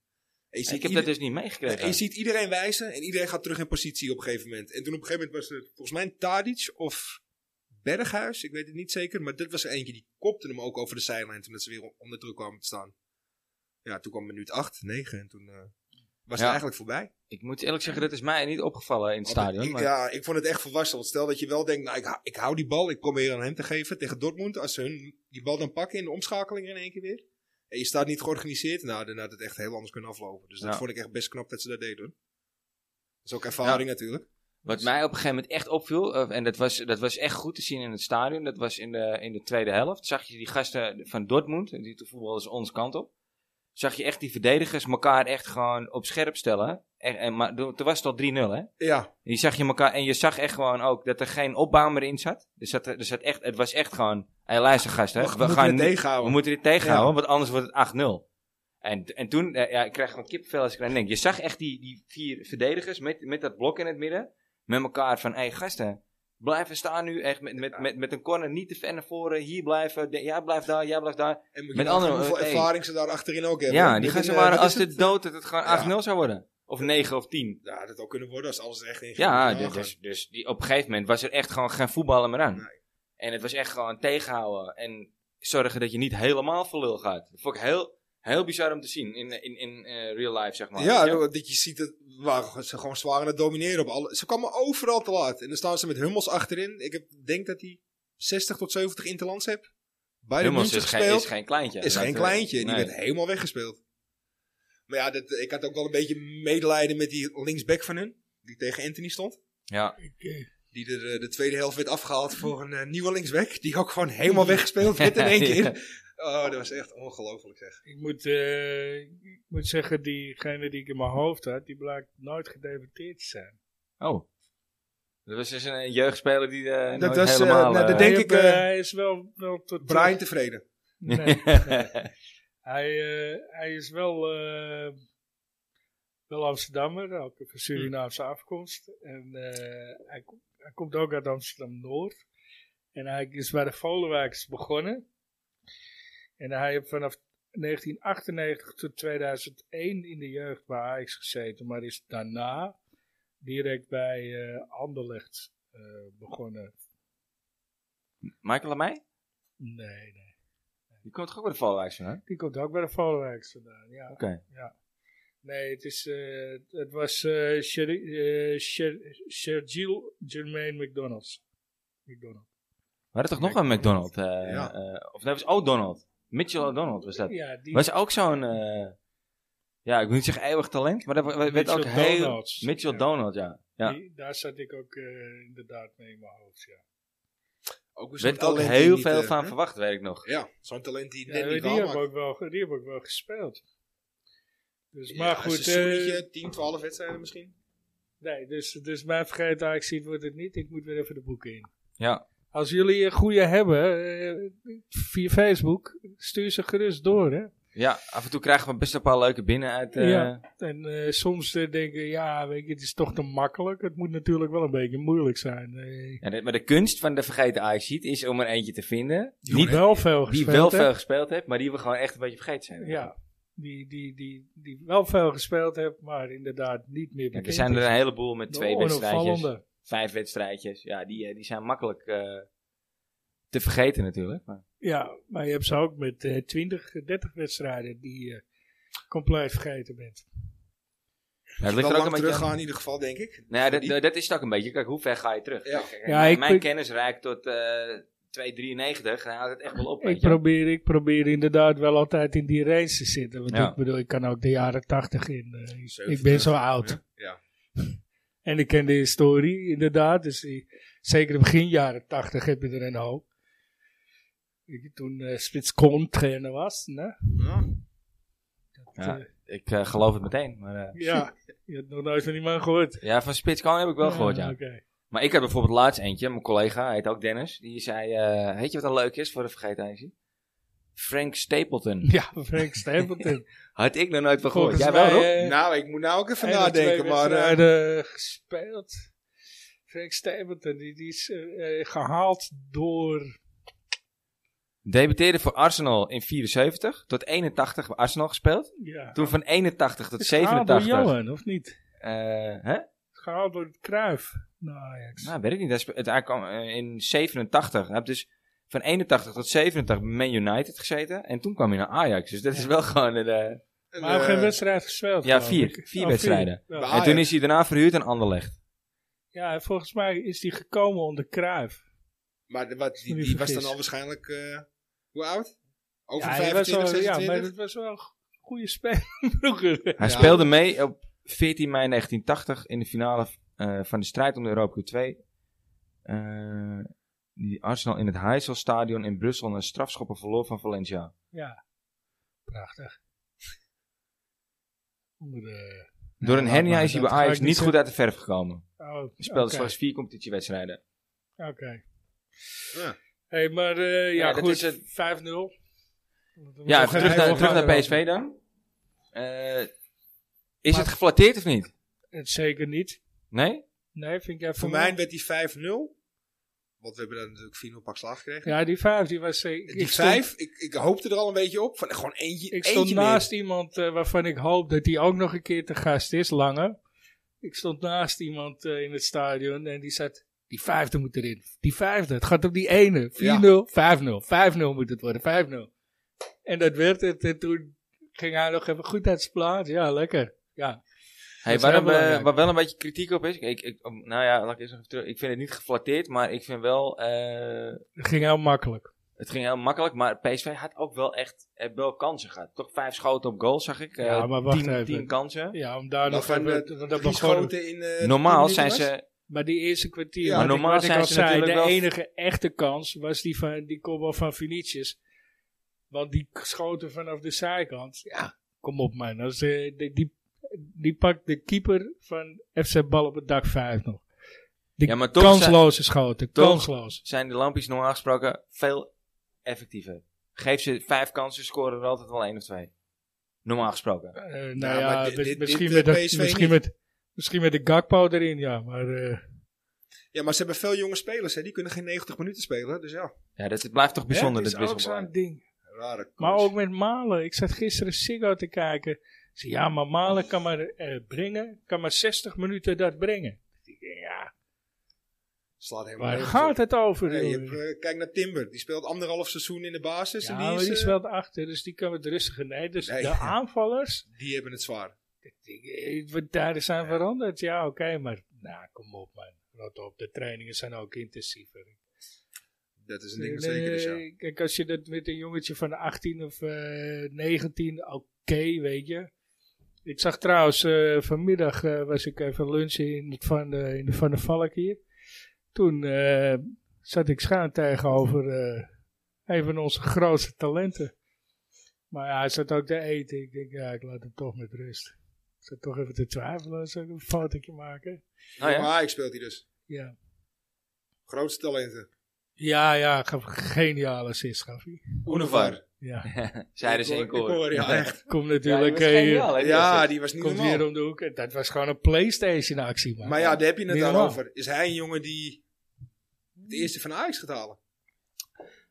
C: En je ziet
A: ik heb
C: ieder-
A: dat dus niet
C: en je
A: meegekregen.
C: ziet iedereen wijzen en iedereen gaat terug in positie op een gegeven moment. En toen op een gegeven moment was het volgens mij Tadic of Berghuis, ik weet het niet zeker. Maar dit was er eentje die kopte hem ook over de zijlijn toen dat ze weer on- onder druk kwamen te staan. Ja, toen kwam minuut 8, 9 en toen eh,
A: Ja.
C: was het eigenlijk voorbij.
A: Ik moet eerlijk zeggen, dat is mij niet opgevallen in het
C: Want
A: stadion.
C: ik-
A: Maar,
C: Ja, ik vond het echt volwassen. Want stel dat je wel denkt, nou ik, hou- ik hou die bal, ik probeer aan hem te geven tegen Dortmund. Als ze hun die bal dan pakken in de omschakeling in één keer weer. En je staat niet georganiseerd. Nou, dan had het echt heel anders kunnen aflopen. Dus dat
A: Ja.
C: vond ik echt best knap dat ze dat deden. hoor. Dat is ook ervaring natuurlijk.
A: Wat mij op een gegeven moment echt opviel, eh, en dat was, dat was echt goed te zien in het stadion, dat was in de, in de tweede helft. Zag je die gasten van Dortmund, die toen voetballen ze ons kant op. Zag je echt die verdedigers elkaar echt gewoon op scherp stellen. En, en, maar toen toen was het al 3-0, hè?
C: Ja,
A: En, die zag je elkaar, en je zag echt gewoon ook dat er geen opbouw meer in zat. Er zat, er zat echt, het was echt gewoon, hé luister gasten,
C: we,
A: we,
C: moeten
A: gaan
C: het
A: niet- Oh, we
C: tegenhouden.
A: moeten dit tegenhouden, want anders wordt het 8-0. En, en toen, eh, ja, ik krijg gewoon kipvel als ik aan denk. Je zag echt die, die vier verdedigers met, met dat blok in het midden. Met elkaar van, hé hey, gasten, blijven staan nu. Echt met, met, met, met een corner niet te ver naar voren. Hier blijven, de- jij blijft daar, jij blijft daar.
C: en moet je
A: met
C: nagaan
A: andere-
C: hoeveel
A: hey.
C: ervaring ze daar achterin ook hebben.
A: Ja,
C: Met
A: die
C: een,
A: gasten
C: eh,
A: waren
C: wat
A: als
C: is het?
A: de dood dat het
C: Ja.
A: gewoon 8-0 zou worden. Of 9 of 10.
C: Ja, dat ook kunnen worden als alles er echt in
A: Ja,
C: dit
A: dus, dus die, op een gegeven moment was er echt gewoon geen voetballen meer aan.
C: Nee.
A: En het was echt gewoon tegenhouden en zorgen dat je niet helemaal voor lul gaat. Dat vond ik heel, heel bizar om te zien in, in, in eh, real life, zeg maar.
C: Ja, nou,
A: Weet je?
C: dat je ziet dat waar, ze gewoon zwaar aan het domineren op alle. Ze kwamen overal te laat. En dan staan ze met Hummels achterin. Ik heb, denk dat hij 60 tot 70 interlands hebt. Bij de
A: Hummels
C: München
A: is geen,
C: gespeeld.
A: is geen kleintje.
C: is
A: Dat,
C: geen
A: eh,
C: kleintje. Die
A: nee.
C: werd helemaal weggespeeld. Maar ja, dat, eh, ik had ook wel een beetje medelijden met die linksback van hun. Die tegen Anthony stond.
A: Ja,
B: Ik, eh,
C: Die er, eh, de tweede helft werd afgehaald voor een eh, nieuwe linksback. Die ook gewoon helemaal weggespeeld werd in één
A: Ja.
C: keer. Oh, dat was echt ongelooflijk zeg.
B: ik, moet, eh, ik moet zeggen, diegene die ik in mijn hoofd had, die blijkt nooit gedebuteerd te zijn.
A: oh. Dat was dus een, een jeugdspeler die eh
C: Dat
A: nooit
C: was, eh,
A: helemaal...
C: nou,
A: eh,
C: dat denk
B: Hij
C: ik,
B: heb,
C: eh,
B: eh, hij is wel, wel tot... eh,
C: Brian tevreden.
B: Nee. Hij, eh, hij is wel, eh, wel Amsterdammer, ook van Surinaamse afkomst. En eh, hij, ko- hij komt ook uit Amsterdam-Noord. En hij is bij de Volenwijkers begonnen. En hij heeft vanaf 1998 tot 2001 in de jeugd bij Ajax gezeten. Maar is daarna direct bij eh, Anderlecht eh, begonnen.
A: Michael Lamey?
B: Nee, nee.
A: Die komt toch ook bij de valwijs van, hè?
B: Die komt ook bij de Volenwijkers vandaan, ja.
A: Oké.
B: ja. Nee, het, is, eh, het was eh, Sher- eh, Sher- Shergill Germain McDonald's. McDonald.
A: Maar er toch nog een McDonald? eh
C: Ja.
A: eh, of nee, was O'Donald. Mitchell O'Donald was dat.
B: Ja, die
A: Was ook zo'n, eh, ja, ik wil niet zeggen eeuwig talent, maar dat wa- wa- werd ook
B: Mitchell
A: heel...
B: Donalds.
A: Mitchell
B: Ja.
A: Donald, ja. ja.
B: die- daar zat ik ook eh, inderdaad mee in mijn hoofd, ja.
C: Ook weer
A: Er
C: zo'n
A: werd ook
C: talent die
A: heel
C: niet,
A: veel
C: eh,
A: van
C: hè?
A: verwacht, weet ik nog.
C: Ja, zo'n talent die
B: Ja,
C: net
B: die,
C: niet wel
B: heb
C: maakt.
B: ook wel ge- die heb ik wel gespeeld. Dus,
C: Ja,
B: maar
C: Een
B: goed,
C: seizoentje,
B: eh,
C: 10, 12 wedstrijden misschien.
B: nee, dus, dus mijn vergeet eigenlijk ziet wordt het niet. Ik moet weer even de boeken in.
A: Ja.
B: Als jullie een goede hebben, eh, via Facebook, stuur ze gerust door, hè.
A: Ja, af en toe krijgen we best een paar leuke binnen uit... eh,
B: Ja. En eh, soms eh, denken, ja, weet je, het is toch te makkelijk. Het moet natuurlijk wel een beetje moeilijk zijn. Eh,
A: ja, dit- maar de kunst van de vergeten ajax is om er eentje te vinden.
B: die
A: Niet,
B: wel veel
A: die
B: gespeeld
A: wel
B: heeft.
A: veel gespeeld heeft, maar die we gewoon echt een beetje vergeten zijn.
B: Ja, die, die, die, die wel veel gespeeld heeft, maar inderdaad niet meer
A: Kijk,
B: bekend
A: er zijn er
B: is.
A: een heleboel met
B: De
A: twee wedstrijdjes,
B: onopvallende.
A: vijf wedstrijdjes. Ja, die, eh, die zijn makkelijk eh, te vergeten natuurlijk. Maar,
B: Ja, maar je hebt ze ook met eh 20, 30 wedstrijden die je compleet vergeten bent.
A: Ja, het
C: Wel
A: ligt er ook een
C: lang
A: beetje
C: terug gaan
A: aan.
C: in ieder geval, denk ik.
A: Nou ja,
C: Voor
A: dat,
C: die-
A: dat- dat is het ook een beetje. Kijk, hoe ver ga je terug?
C: Ja.
A: Kijk,
B: Ja,
A: mijn-
B: ik-
A: eh, mijn
B: ik-
A: kennis reikt tot eh 293. Dan houdt het echt wel op.
B: Ik
A: weet je.
B: probeer, ik probeer inderdaad wel altijd in die race te zitten. Want
A: Ja.
B: ik bedoel, ik kan ook de jaren 80 in. eh, ik- ik
C: 70,
B: ben zo oud.
C: Ja. Ja.
B: En ik ken de historie, inderdaad. Dus die- zeker in begin jaren tachtig heb je er een hoop. Weet je, Toen eh Spits Koon trainer was. Ne?
C: Ja.
A: Ja, ik eh, geloof het meteen. Maar, eh,
B: Ja, je hebt nog nooit van die man gehoord. Ah,
A: ja, van Spitskaan heb ik wel gehoord, ja.
B: oké.
A: Maar ik had bijvoorbeeld laatst eentje, mijn collega, hij heet ook Dennis. Die zei, eh, weet je wat dan leuk is voor de vergetenijzie? Frank Stapleton.
B: Ja, Frank Stapleton.
A: Had ik nog nooit van gehoord.
B: Volgens
A: Jij wel, Rob?
B: mij, eh,
C: Nou, ik moet nou ook even
B: één of twee
C: nadenken, maar... eh,
B: wedstrijden gespeeld. Frank Stapleton, die, die is eh, eh, gehaald door...
A: Debuteerde voor Arsenal in 74, tot 81 bij Arsenal gespeeld.
B: Ja,
A: Toen van 81 tot
B: gehaald door
A: 87.
B: Johan, of niet?
A: Eh hè?
B: Gehaald door Cruijff. Nou, Ajax.
A: Nou, weet ik niet. Hij spe- het- Hij kwam eh, in 87. Hij heeft dus van 81 tot 87 bij Man United gezeten. En toen kwam hij naar Ajax. Dus dat is wel gewoon een... eh,
C: een,
B: maar hij heeft
C: eh,
B: geen wedstrijd gespeeld.
A: ja,
B: geloof
A: vier.
B: ik.
A: Vier
B: Oh,
A: wedstrijden.
B: Ja.
C: Bij
A: en toen is hij daarna verhuurd aan Anderlecht.
B: Ja, en volgens mij is die gekomen onder Kruif.
C: Maar de- wat, die,
B: me niet
C: die was dan
B: vergis.
C: al waarschijnlijk... eh, hoe oud? Over
B: ja, hij was
C: 25,
B: wel, ja,
C: 26.
B: maar dat was wel een goede speler vroeger.
A: Hij
C: Ja.
A: speelde mee op 14 mei 1980 in de finale eh, van de strijd om de Europa Cup 2. Eh, die Arsenal in het Heizelstadion in Brussel een strafschoppen verloor van Valencia.
B: Ja, prachtig. Onder de...
A: Door een
B: laat
A: hernia
B: maar,
A: is hij
B: dat
A: bij
B: ga
A: Ajax
B: ik niet
A: niet goed
B: zeggen.
A: uit de verf gekomen.
B: Oh,
A: Hij speelde
B: oké,
A: slechts vier competitiewedstrijden.
B: Oké.
C: Ja.
B: hey, maar eh, ja,
A: Ja, dat
B: goed,
A: is het.
B: 5-0. Dat
A: Ja,
B: was
A: even
B: een
A: terug,
B: heel
A: naar, terug
B: grote
A: naar
B: ramp.
A: PSV dan. Eh, is
B: Maar-
A: het geflatteerd of niet?
B: Het Zeker niet.
A: Nee?
B: Nee, vind ik even...
C: Voor mij werd die 5-0. Want we hebben daar natuurlijk 4-0 pak slaag gekregen.
B: Ja, die vijf, die was zeker...
C: die 5, ik, ik hoopte er al een beetje op. Van, gewoon eentje,
B: Ik stond
C: eentje
B: naast iemand eh, waarvan ik hoop dat hij ook nog een keer te gast is, langer. Ik stond naast iemand eh, in het stadion en die zei, die vijfde moet erin. Die vijfde, het gaat om die ene. 4-0, 5-0, 5-0 moet het worden, 5-0. En dat werd het en toen ging hij nog even goed uit zijn plaats. Ja, lekker. Ja,
A: Hey,
B: is
A: waar,
B: heel
A: we-
B: belangrijk.
A: waar wel een beetje kritiek op is. Ik, ik, nou ja, laat ik eerst nog even terug. Ik vind het niet geflatteerd, maar ik vind wel. eh,
B: dat ging heel makkelijk.
A: het ging heel makkelijk, maar PSV had ook wel echt. Heeft wel kansen gehad. Toch vijf schoten op goal, zag ik. eh,
B: Ja, maar wacht
A: tien,
B: even. Eh,
A: tien kansen.
B: Ja, om daar
C: meer.
B: nog even...
C: Waarvan, eh,
B: want dat
C: drie
B: begon-
C: schoten in... eh,
A: Normaal
C: tien minuten
A: zijn
C: was.
A: ze.
B: Maar die eerste kwartier,
C: Ja,
B: wat ik-
A: normaal
B: wat ik
A: zijn
B: al
A: ze
B: zei, de
A: natuurlijk wel-
B: enige echte kans was die van die kopbal van Vinicius. Want die schoten vanaf de zijkant. Ja, kom op man. Als, eh, die, die, die pakt de keeper van FC Bal op het dak 5 nog. Die
A: Ja, maar toch
B: kansloze schoten,
A: toch-
B: kansloos.
A: Zijn de lampjes normaal gesproken veel effectiever? Geef ze vijf kansen, scoren er altijd wel één of twee. Normaal gesproken.
B: Eh, nou
C: Ja,
B: ja,
C: maar dit-
B: mis-
C: dit-
B: misschien,
C: dit,
B: met
C: eh,
B: dat,
C: PSV
B: misschien,
C: niet.
B: met, misschien met de Gakpo erin, ja. Maar eh,
C: Ja, maar ze hebben veel jonge spelers. Hè. Die kunnen geen 90 minuten spelen. Dus ja,
A: Ja, dat, het blijft toch bijzonder,
B: het
A: dat
B: is ook
A: wisselbaar.
B: zo'n ding.
C: rare koers.
B: Maar ook met Malen. Ik zat gisteren Siggo te kijken. Ik zei, ja, maar Malen kan maar eh, brengen, kan maar 60 minuten dat brengen. Ik denk, Ja,
C: Slaat helemaal
B: waar
C: nergens
B: gaat
C: op.
B: het over?
C: Nee,
B: joh?
C: je hebt, eh, kijk naar Timber. Die speelt anderhalf seizoen in de basis.
B: ja,
C: en die,
B: maar
C: is,
B: die is
C: eh,
B: wel achter, dus die kan het rustiger. Nee, dus
C: Nee.
B: de aanvallers,
C: die hebben het zwaar.
B: ik denk, eh, wat tijden zijn veranderd. Ja, oké, maar nou, kom op man. Rot op, de trainingen zijn ook intensiever.
C: Dat is een ding dat zeker is, ja.
B: Nee, Kijk, als je dat met een jongetje van 18 of eh, 19, oké, weet je. Ik zag trouwens, eh, vanmiddag eh, was ik even lunchen in, het van, de, in de Van der Valk hier. Toen eh, zat ik schuin tegenover eh, een van onze grootste talenten. Maar ja, hij zat ook te eten. Ik denk, ja, ik laat hem toch met rust. Ik zat toch even te twijfelen, zou ik een fotootje maken?
A: Nou ja.
C: Maar ik speelt hij dus.
B: Ja,
C: Grootste talenten.
B: ja, ja gaf een geniale assist, gaf hij.
C: Oenevar.
B: Ja.
A: Zeiden ze in
C: Ik hoor- ik
A: koor.
C: hoor, Ja, echt.
B: Komt
A: Ja, die
B: natuurlijk.
A: was
B: eh,
A: geniaal, hè, die
C: Ja,
A: assist.
C: die was niet
B: komt
C: normaal.
B: weer om de hoek. En Dat was gewoon een PlayStation actie, man.
C: Maar ja, daar heb je het
B: Niet
C: dan
B: normaal.
C: over. Is hij een jongen die de eerste van Ajax gaat halen?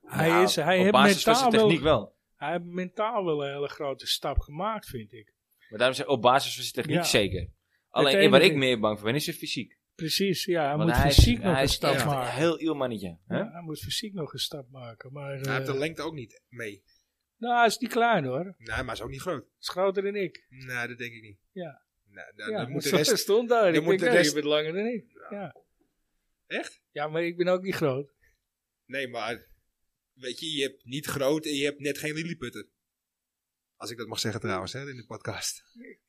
B: hij
A: Nou,
B: is, hij
A: op
B: heeft
A: basis van zijn
B: mentaal wel,
A: techniek wel.
B: hij heeft mentaal wel een hele grote stap gemaakt, vind ik.
A: Maar daarom zeg ik, op basis van zijn techniek
B: Ja.
A: zeker. Alleen
B: enige
A: waar ik
B: is-
A: meer bang voor ben, is zijn fysiek.
B: Precies, ja, hij
A: Want
B: moet
A: hij is-
B: fysiek nog
A: hij
B: een
A: is
B: stap
A: echt een
B: maken.
A: heel iel mannetje. Hè?
B: Ja, hij moet fysiek nog een stap maken. Maar eh,
C: Hij heeft de lengte ook niet mee.
B: nou, hij is niet klein hoor. Hij
C: Nee, maar hij is ook niet groot.
B: is groter dan ik.
C: Nee, dat denk ik niet.
B: Ja.
C: Nee,
B: Ja,
C: dan, dan moet de
B: zo
C: rest...
B: stond daar.
C: dan
B: Ik
C: moet
B: denk,
C: de
B: nee,
C: rest-
B: je bent langer dan ik. Ja.
C: Echt?
B: Ja, maar ik ben ook niet groot.
C: Nee, maar weet je, je hebt niet groot en je hebt net geen lilliputter. Als ik dat mag zeggen trouwens, hè, in de podcast.
B: Ik-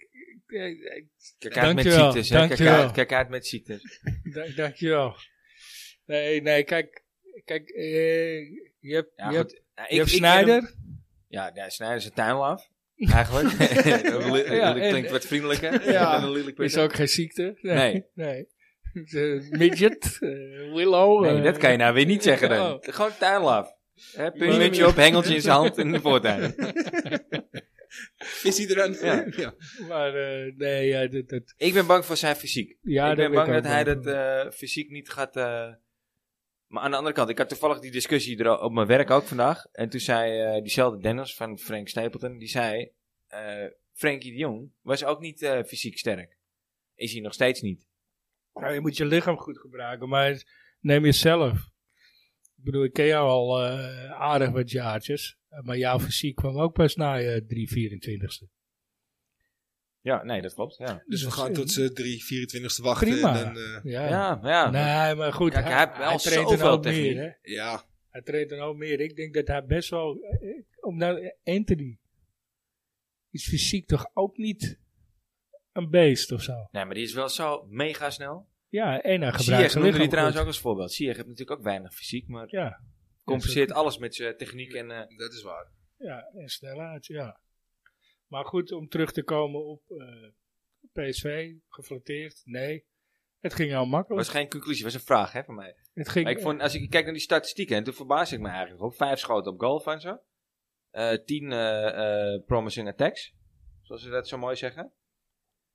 B: ik- ik-
A: Kijk uit met
B: Dankjewel,
A: ziektes. Hè? Kijk,
B: dankjewel.
A: uit, kijk uit met ziektes.
B: Dank, dankjewel. Nee, nee, kijk. Kijk, eh, je hebt,
A: Ja, goed.
B: je
A: Nou, ik-
B: hebt, je hebt
A: ik vind
B: Snijder.
A: hem- Ja, ja, Snijder is een tuinlaaf. Eigenlijk.
B: Ja, ja, en-
A: klinkt wat vriendelijker
C: Ja.
A: dan een lilliputter.
B: Is ook geen ziekte.
A: Nee.
B: nee. Eh, midget, eh, willow.
A: Nee,
B: eh,
A: dat kan je nou weer niet zeggen dan.
B: Oh.
A: Gewoon tuinlaaf. Hè,
B: Maar-
A: Puntje op, hengeltje in zijn hand in de voortuin.
C: Is hij er aan?
A: Ja.
C: Ja. Dus
B: Maar eh, nee, ja, dat, dat,
A: Ik ben bang voor zijn fysiek.
B: ja,
A: ik
B: daar
A: ben bang
B: ik
A: dat
B: ook
A: hij
B: bang
A: dat
B: voor.
A: eh, fysiek niet gaat. eh, maar aan de andere kant, ik had toevallig die discussie er op mijn werk ook vandaag. En toen zei eh, diezelfde Dennis van Frank Stapleton, die zei: eh Frankie de Jong was ook niet eh, fysiek sterk. Is hij nog steeds niet.
B: Nou, je moet je lichaam goed gebruiken, maar neem jezelf. Ik bedoel, ik ken jou al eh, aardig wat jaartjes. eh, Maar jouw fysiek kwam ook pas na je 324ste.
A: Ja, nee, dat klopt. Ja,
C: Dus we gaan tot z'n 3, 24ste wachten.
B: Prima.
C: En dan, eh,
B: Ja.
A: ja. maar ja.
B: Nee, maar goed.
A: Kijk, hij
B: hij,
A: heeft wel
B: hij treedt
A: zoveel
B: er ook meer,
A: techniek.
B: hè.
C: ja,
B: Hij treedt er ook meer. Ik denk dat hij best wel eh, eh, om nou, Anthony is fysiek toch ook niet een beest of zo.
A: Nee, maar die is wel zo mega snel.
B: Ja, en hij gebruikt
A: Ziyech
B: zijn
A: noemde die
B: lichaam
A: trouwens
B: goed.
A: ook als voorbeeld. Ziyech heeft natuurlijk ook weinig fysiek, maar
B: Ja,
A: compenseert alles met zijn techniek en... eh,
C: Dat is waar.
B: ja, en snelheid, ja. Maar goed, om terug te komen op eh, PSV, geflatteerd, nee. Het ging heel makkelijk.
A: was geen conclusie, was een vraag hè, van mij.
B: het ging,
A: Maar ik vond, als ik kijk naar die statistieken, en toen verbaas ik me eigenlijk ook. Vijf schoten op goal van ze. Eh, tien eh, eh, promising attacks. Zoals ze dat zo mooi zeggen.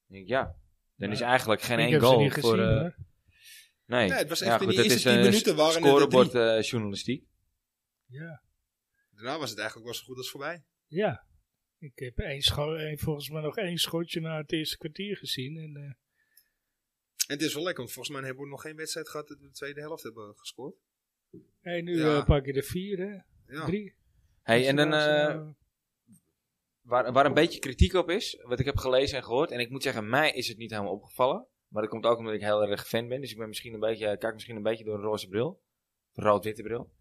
A: Ik denk, ja, dan
B: Ja.
A: is eigenlijk geen
B: ik
A: één
B: heb ze
A: goal
B: niet
A: voor...
B: gezien,
A: eh,
B: hoor.
A: nee.
C: Ja, het was echt
A: Ja,
C: in
A: goed,
C: die
A: dat
C: eerste
A: is eh,
C: 10
B: eh,
A: een
C: minuten waren het er
A: scorebord eh, journalistiek.
B: Ja.
C: Daarna was het eigenlijk wel zo goed als voorbij.
B: ja. Ik heb één scho- één- volgens mij nog één schotje na het eerste kwartier gezien. En, eh,
C: En het is wel lekker, want volgens mij hebben we nog geen wedstrijd gehad dat we de tweede helft hebben gescoord.
B: hey, nu
C: Ja.
B: eh, pak je de vier, hè?
C: Ja.
B: Drie.
A: Hey,
B: Dus
A: en dan,
B: was,
A: eh,
B: eh,
A: waar, waar een beetje kritiek op is, wat ik heb gelezen en gehoord. En ik moet zeggen, mij is het niet helemaal opgevallen. Maar dat komt ook omdat ik heel erg fan ben. Dus ik ben misschien een beetje, ik kijk misschien een beetje door een roze bril. Rood-witte bril.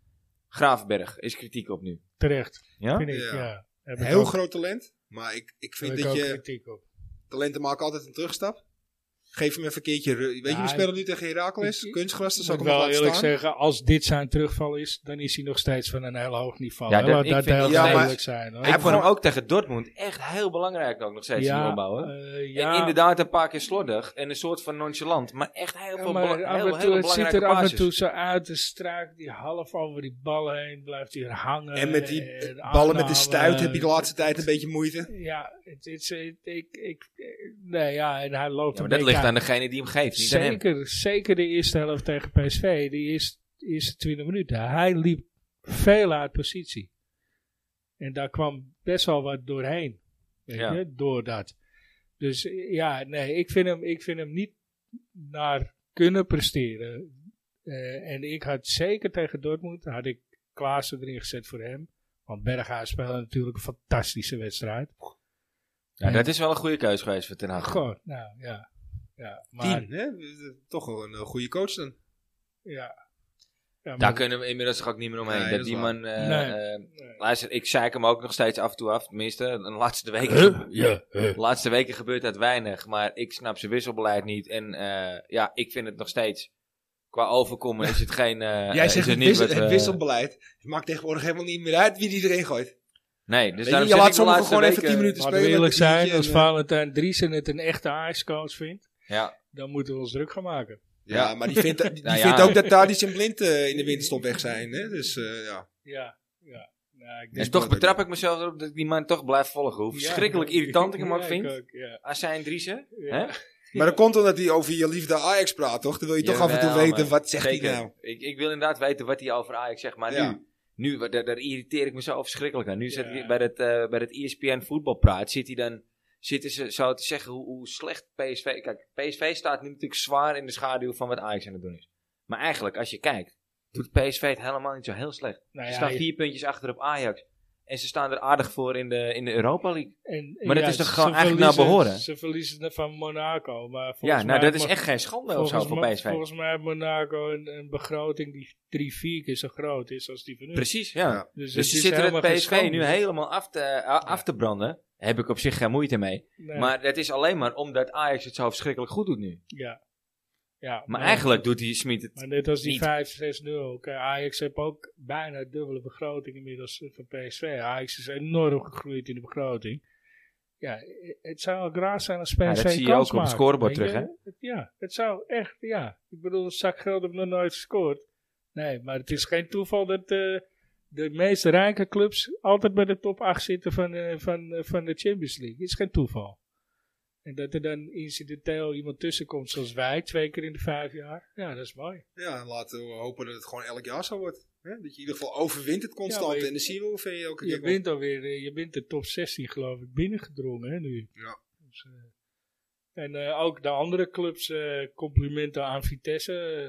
A: Gravenberg is kritiek op nu.
B: terecht,
A: Ja?
B: vind ik,
C: Ja.
B: ja. Heb ik
C: Heel
B: ook-
C: groot talent, maar ik, ik
B: heb
C: vind
B: ik
C: dat
B: ook
C: je...
B: kritiek op.
C: Talenten maken altijd een terugstap. Geef hem even een keertje... ru- Weet
B: Ja,
C: je, we spelen nu tegen Heracles.
B: ik- ik-
C: Kunstgras, dat
B: Ik
C: zou
B: moet
C: ik hem nog
B: wel
C: laten
B: eerlijk
C: staan.
B: zeggen, als dit zijn terugval is, dan is hij nog steeds van een heel hoog niveau.
A: Ja,
B: hè.
A: dat-
B: Laat
A: ik
B: dat
A: vind
B: heel
C: nog steeds-
B: duidelijk zijn. Hoor.
A: Ik vond hem
C: gewoon-
A: ook tegen Dortmund echt heel belangrijk ook nog steeds in de opbouw. Hè?
B: eh,
A: En
B: ja,
A: inderdaad een paar keer slordig en een soort van nonchalant. Maar echt heel
B: ja,
A: veel
B: maar
A: bela-
B: af
A: heel,
B: en
A: heel
B: toe, het ziet
A: belangrijke
B: er af
A: basis.
B: en toe zo uit. De struik die half over die ballen heen blijft hier hangen.
C: En met die
B: eh,
C: ballen met de
B: aanname.
C: stuit heb ik de laatste tijd een beetje moeite.
B: Ja, het is... het- ik, ik, nee, ja, en hij
A: Ja,
B: loopt
A: maar
B: een
A: dat
B: beetje
A: ligt aan degene die hem geeft, niet aan hem.
B: Zeker, zeker de eerste helft tegen PSV, die eerste, eerste 20 minuten. Hij liep veel uit positie. En daar kwam best wel wat doorheen. Weet
A: Ja.
B: je, door dat. Dus eh, ja, nee, ik vind hem, ik vind hem niet naar kunnen presteren. Eh, en ik had zeker tegen Dortmund, had ik Klaassen erin gezet voor hem. Want Berghuis speelde natuurlijk een fantastische wedstrijd.
A: Ja, dat is wel een goede keuze geweest voor Ten Hag.
B: Goh, nou ja. ja maar,
C: Tien, hè? Eh, Toch wel een eh, goede coach dan.
B: Ja. ja
A: Daar kunnen we inmiddels toch ook niet meer omheen.
C: Nee,
A: dat,
C: dat is
A: die
C: waar.
A: man. eh,
B: Nee.
A: eh,
B: Nee.
A: luister, ik zeik hem ook nog steeds af en toe af. Tenminste, de laatste weken,
B: Huh? Ja,
A: de laatste weken gebeurt dat weinig. Maar ik snap zijn wisselbeleid niet. En eh, ja, ik vind het nog steeds. Qua overkomen is het geen. eh,
C: Jij
A: is
C: zegt
A: het
C: het,
A: niet
C: wissel-
A: wat we-
C: het wisselbeleid. Het maakt tegenwoordig helemaal niet meer uit wie die erin gooit.
A: Nee, dus
C: je,
A: daarom
C: je
A: zeg
C: laat
A: ik de
C: sommigen
A: laatste
C: gewoon even
A: weken-
C: 10 minuten-
B: Laten we
C: spelen
B: eerlijk
C: met een
B: zijn,
C: biertje
B: als
C: en,
B: Valentijn Driesen het een echte ijscoach vindt,
A: Ja,
B: dan moeten we ons druk gaan maken.
C: Ja,
A: Ja.
C: maar die vindt, die
A: Nou ja.
C: vindt ook dat Tadic en Blind eh, in de winterstop weg zijn. Hè? Dus eh, ja.
B: Ja, ja. Nou, ik
A: en
C: denk-
A: dus toch betrap ik mezelf erop dat ik die man toch blijf volgen. Hoe verschrikkelijk irritant ik hem ook
B: Ja,
A: vind.
B: ook, ja.
A: Azijn Driesen.
B: Ja.
A: Hè?
C: Maar dat komt omdat hij over je liefde Ajax praat, toch? Dan wil je toch af en toe
A: Jawel,
C: weten,
A: maar
C: wat zegt hij
A: zeker.
C: nou?
A: Ik, ik wil inderdaad weten wat hij over Ajax zegt. Maar
C: Ja.
A: nu, nu wa- daar, daar irriteer ik me zo verschrikkelijk aan. Nu zit
B: Ja.
A: hij bij het, eh bij het ESPN voetbalpraat. Zit hij dan, zitten ze zo te zeggen hoe, hoe slecht PSV... Kijk, PSV staat nu natuurlijk zwaar in de schaduw van wat Ajax aan het doen is. Maar eigenlijk, als je kijkt, doet PSV het helemaal niet zo heel slecht.
B: Nou
A: ze
B: ja,
A: staan vier puntjes achter op Ajax. En ze staan er aardig voor in de, in de Europa League.
B: en- en
A: Maar dat
B: ja,
A: is toch
B: ze
A: gewoon eigenlijk naar
B: verliezen-
A: behoren?
B: Ze verliezen het van Monaco. Maar
A: Ja,
B: volgens
A: nou
B: mij
A: dat is
B: mag-
A: echt geen schande of zo
B: volgens
A: voor
B: mij-
A: PSV.
B: Volgens mij heeft Monaco een, een begroting die drie, vier keer zo groot is als die van nu.
A: Precies, ja.
C: Ja.
B: Dus,
A: Dus
B: het
A: ze
B: is
A: zitten het
B: helemaal geen
A: PSV
B: schande.
A: nu helemaal af te, a- af te branden. Daar heb ik op zich geen moeite mee.
B: Nee,
A: Maar dat is alleen maar omdat Ajax het zo verschrikkelijk goed doet nu.
B: ja. Ja,
A: Maar eigenlijk doet hij Smit het.
B: Maar net als die
A: Niet.
B: 5-6-0. Kijk, Ajax heeft ook bijna dubbele begroting inmiddels eh, van PSV. Ajax is enorm gegroeid in de begroting. Ja, eh, het zou ook raar zijn als PSV
A: dat zie je
B: kans
A: ook op het
B: maakt,
A: scorebord
B: weet je?
A: terug,
B: Het- Ja, het zou echt, ja. Ik bedoel, het zak geld heb nog nooit gescoord. Nee, maar het is geen toeval dat eh, de meest rijke clubs altijd bij de top 8 zitten van, eh, van, eh, van de Champions League. Het is geen toeval. En dat er dan incidenteel iemand tussenkomt zoals wij, twee keer in de vijf jaar. Ja, dat is mooi.
C: Ja, laten we hopen dat het gewoon elk jaar zo wordt. Hè? Dat je in ieder geval overwint het
B: Ja,
C: constant.
B: maar je-
C: en dan zien we hoeveel je elke
B: Je
C: keer komt.
B: bent alweer, eh, je bent de top 16 geloof ik binnengedrongen hè, nu.
C: Ja.
B: Dus, eh, en eh, ook de andere clubs, eh, complimenten aan Vitesse, eh,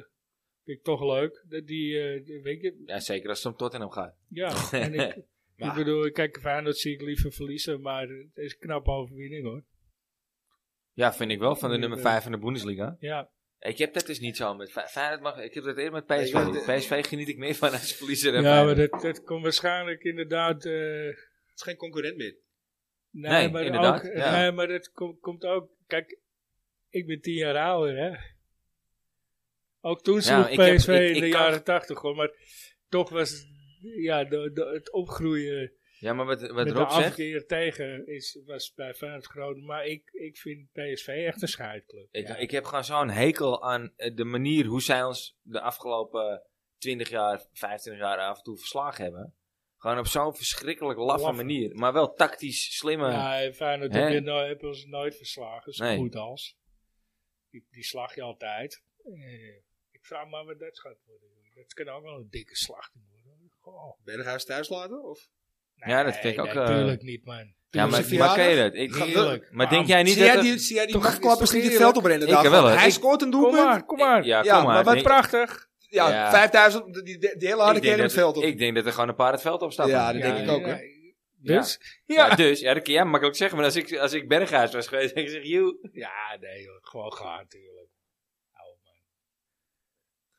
B: vind ik toch leuk. Dat die, eh, die- weet je,
A: Ja, zeker als het om Tottenham gaat.
B: ja. en ik, ik
C: Maar-
B: bedoel, kijk, Feyenoord zie ik liever verliezen, maar het is een knappe overwinning hoor.
A: Ja, vind ik wel, van de
B: Ik,
A: nummer
B: eh,
A: 5 van de Bundesliga.
B: Ja,
A: Ik heb dat dus niet zo met Fe- Feyenoord. Mag, ik heb dat eerder met
C: Nee,
A: PSV.
C: want, eh,
A: PSV geniet ik meer van als verliezer. dan
B: ja maar
A: Feyenoord.
B: dat, dat komt waarschijnlijk inderdaad eh,
C: is geen concurrent meer.
B: Nee,
A: Nee,
B: maar
A: inderdaad,
B: Ook,
A: ja.
B: Nee, maar dat kom- komt ook... Kijk, ik ben tien jaar ouder, hè. Ook toen sloeg
A: ik heb-
B: PSV
A: ik-
B: in
A: ik
B: de
A: kan-
B: jaren tachtig, hoor. Maar toch was ja, de- de- het opgroeien
A: Ja, maar wat, wat
B: met de
A: Rob zegt,
B: afkeer tegen is, was bij Feyenoord groot. Maar ik, ik vind PSV echt een scheidclub.
A: ik,
B: Ja.
A: ik heb gewoon zo'n hekel aan eh, de manier hoe zij ons de afgelopen 20 jaar, 25 jaar af en toe verslagen hebben. Gewoon op zo'n verschrikkelijk laffe
B: Laffe.
A: manier. Maar wel tactisch slimme.
B: Ja, Feyenoord
A: eh, Hè?
B: heb je no- hebben ons nooit verslagen, zo
A: Nee.
B: goed als. Die, die slag je altijd. Eh, ik vraag me af wat dat gaat worden. Dat kan ook wel een dikke slachting worden. Goh.
C: Berghuis thuis laten? Of?
A: Ja, dat vind ik ook, eh,
B: Natuurlijk niet, man.
A: Ja, maar,
C: Onze
A: maar ken je
C: verjaardag?
A: dat? Ik,
B: Heerlijk.
A: maar denk
B: Waarom?
A: jij niet
C: Zie
A: dat...
C: jij
A: er-
C: die, zie jij die
B: Toch
C: machtklappers
B: is toch
C: niet het veld
B: eerlijk?
C: oprennen?
A: Ik
C: daarvan?
A: wel, hè.
C: Hij
A: Ik-
C: scoort een
B: Kom
C: doelpunt.
B: maar, kom maar.
A: Ja, kom
C: Ja,
A: maar.
C: maar wat
A: denk-
B: Prachtig.
C: Ja,
A: Ja.
C: 5000, die, die, die hele harde
A: ik denk
C: kern het
A: dat-
C: veld op.
A: Ik denk dat er gewoon een paar het veld opstappen.
C: Ja, dat
B: Ja,
C: denk ik ook, hè.
B: ja. Dus?
A: Ja.
B: Ja.
A: dus, ja, dat kun jij makkelijk zeggen. Maar als ik, als ik Berghuis was geweest, ik zeg, joe.
B: Ja, nee, joh, gewoon gaan natuurlijk. Oude man.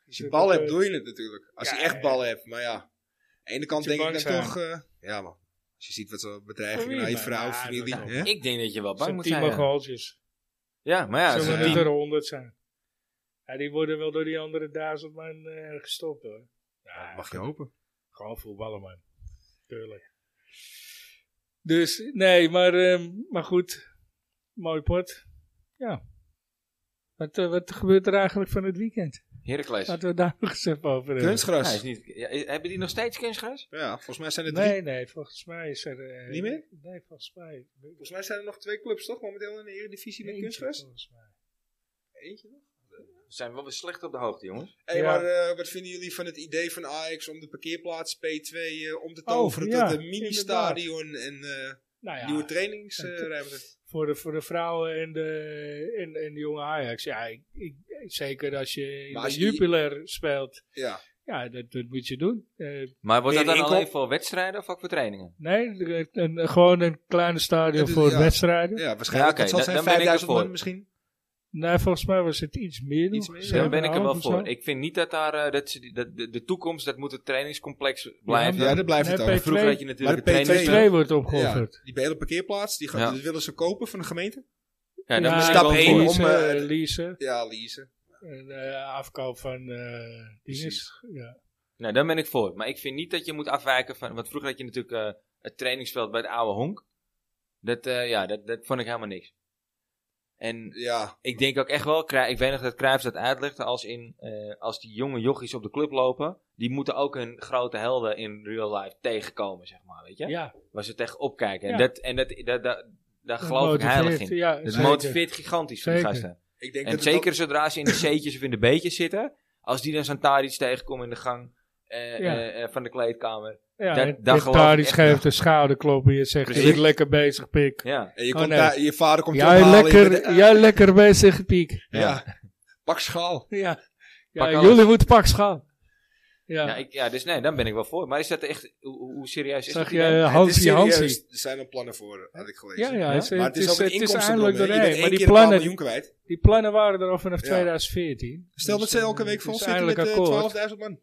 C: Als je bal hebt,
B: Eh,
C: doe je het natuurlijk. Als
B: Ja,
C: je echt
B: ja.
C: bal hebt. Maar ja, aan de ene kant
B: Moet je
C: denk ik dan
B: bang zijn.
C: toch... eh, ja, man. Als je ziet wat ze
B: Voor
C: bedreigingen
B: wie,
C: naar je
B: man?
C: vrouw,
B: Ja,
C: familie.
B: dat is
C: hè?
A: Ik denk dat je wel bang
B: Zo'n
A: moet
B: team
A: zijn.
B: van
A: Ja,
B: goaltjes.
A: Ja, maar ja,
B: Zullen
A: zo'n
B: er
A: team-
B: net er honderd zijn? Ja, die worden wel door die andere duizend man eh, gestopt hoor. Ja,
C: Mag je hopen.
B: Gewoon voetballen man. Tuurlijk. Dus, nee, maar, ehm, maar goed. Mooi pot. Ja. Wat, eh, wat gebeurt er eigenlijk van het weekend?
A: Heracles.
B: Laten we daar nog eens even over hebben.
A: Ja,
C: Kunstgras.
A: is niet, ja, is- hebben die nog steeds kunstgras?
C: Ja, volgens mij zijn er drie.
B: Nee, nee, volgens mij is er... eh,
C: Niet meer?
B: Nee, volgens mij.
C: Volgens mij zijn er nog twee clubs toch momenteel in de Eredivisie met
B: Eentje,
C: kunstgras?
B: volgens mij.
C: Eentje nog.
A: We zijn wel weer slecht op de hoogte, jongens.
C: Hey,
B: Ja.
C: maar eh, wat vinden jullie van het idee van Ajax om de parkeerplaats P2 eh, om te
B: Oh,
C: toveren
B: ja,
C: tot een mini-stadion en eh,
B: Nou ja,
C: nieuwe eh, trainingsruimte?
B: voor de, voor de vrouwen en de, en, en de jonge Ajax. Ja, ik, ik, zeker als je in
C: Maar
B: de
C: als je-
B: Jupiler speelt.
C: ja.
B: Ja, dat, dat moet je doen. Eh,
A: Maar wordt dat
C: Meer
A: dan
C: inkoop?
A: alleen voor wedstrijden of ook voor trainingen?
B: nee, een- een, gewoon een kleine stadion
C: Het is-
B: voor
C: ja.
B: wedstrijden.
C: ja, waarschijnlijk.
A: Ja, oké,
C: het
A: dan-
C: zal zijn
A: dan ben ik er
C: 5000
A: voor.
C: man misschien.
B: Nee, volgens mij was het iets meer.
C: Iets
B: nog,
C: meer,
A: Daar ben ik er wel
B: 7,5 of zo.
A: voor. Ik vind niet dat daar eh, dat ze die- dat de, de toekomst, dat moet het trainingscomplex blijven.
C: Ja, dat blijft
B: Nee,
C: het over.
B: P2
A: Vroeger had je natuurlijk
C: Maar de
A: een
C: P2
A: training.
B: P2 wordt opgeofferd.
C: Die hele parkeerplaats, die, gaan,
A: Ja.
C: die willen ze kopen van de gemeente?
A: Ja, daar
B: Ja,
A: moet ik
C: stap
A: wel
C: één
A: voor.
C: om-
B: leasen,
C: eh,
B: leasen
C: Ja, leasen.
B: en eh, afkoop van eh
C: Precies.
B: dinges. Ja.
A: Nou, daar ben ik voor. Maar ik vind niet dat je moet afwijken van. Want vroeger had je natuurlijk eh, het trainingsveld bij het oude honk. Dat, eh, ja, dat, dat vond ik helemaal niks. En
C: Ja,
A: ik denk ook echt wel, Cruij- ik weet nog dat Cruijff dat uitlegde, als, in, eh, als die jonge jochies op de club lopen, die moeten ook hun grote helden in real life tegenkomen, zeg maar, weet je?
B: Ja.
A: Waar ze tegen opkijken. En,
B: Ja.
A: dat, en dat, dat, dat, daar
B: dat
A: geloof ik heilig
B: Dus motiveert,
A: in.
B: Ja,
A: Het
B: zeker.
A: motiveert gigantisch voor die
B: Zeker.
A: gasten.
C: ik denk
A: En
C: dat
A: zeker zodra ze in de C'tjes of in de B'tjes zitten, als die dan zo'n Tadic tegenkomen in de gang eh,
B: Ja.
A: eh, eh, van de kleedkamer.
B: Ja,
A: Dat-
B: en-
A: dat
B: en
A: geloof ik
B: Tadic
A: echt
B: geeft een schouderklop en je zegt, je
A: Precies.
B: bent lekker bezig, Piek.
A: Ja.
C: En je,
B: Oh,
C: komt
B: nee.
C: daar, je vader komt je
B: Jij
C: ophalen, je
B: lekker,
C: bent- ah,
B: jij lekker bezig, Piek.
C: ja. Pak schaal.
B: Ja,
A: Pak
B: ja
A: alles.
B: jullie moeten pak schaal. Ja,
A: Ja, ik, ja, dus nee, dan ben ik wel voor. Maar is dat echt, hoe, hoe- hoe serieus is
B: zag
A: dat?
B: je
A: idee?
B: eh,
C: Het is
B: Hansie
C: serieus,
B: Hansie.
C: Er zijn al plannen voor, had ik gelezen.
B: Ja, ja, het, is-
A: Ja?
B: het
C: Maar het is, ook
B: is,
C: een
B: het is
C: inkomstenbron,
B: eindelijk
C: hè. Je bent
B: doorheen.
C: eh, één
B: Maar
C: keer
B: die
C: een paar
B: plannen,
C: miljoen kwijt.
B: die plannen waren er al vanaf
C: Ja.
B: 2014.
C: Stel dat
B: Dus,
C: ze
B: eh,
C: elke week
B: het
C: vol
B: is
C: zitten met
B: eindelijk
C: eh,
B: akkoord.
C: 12.000 man.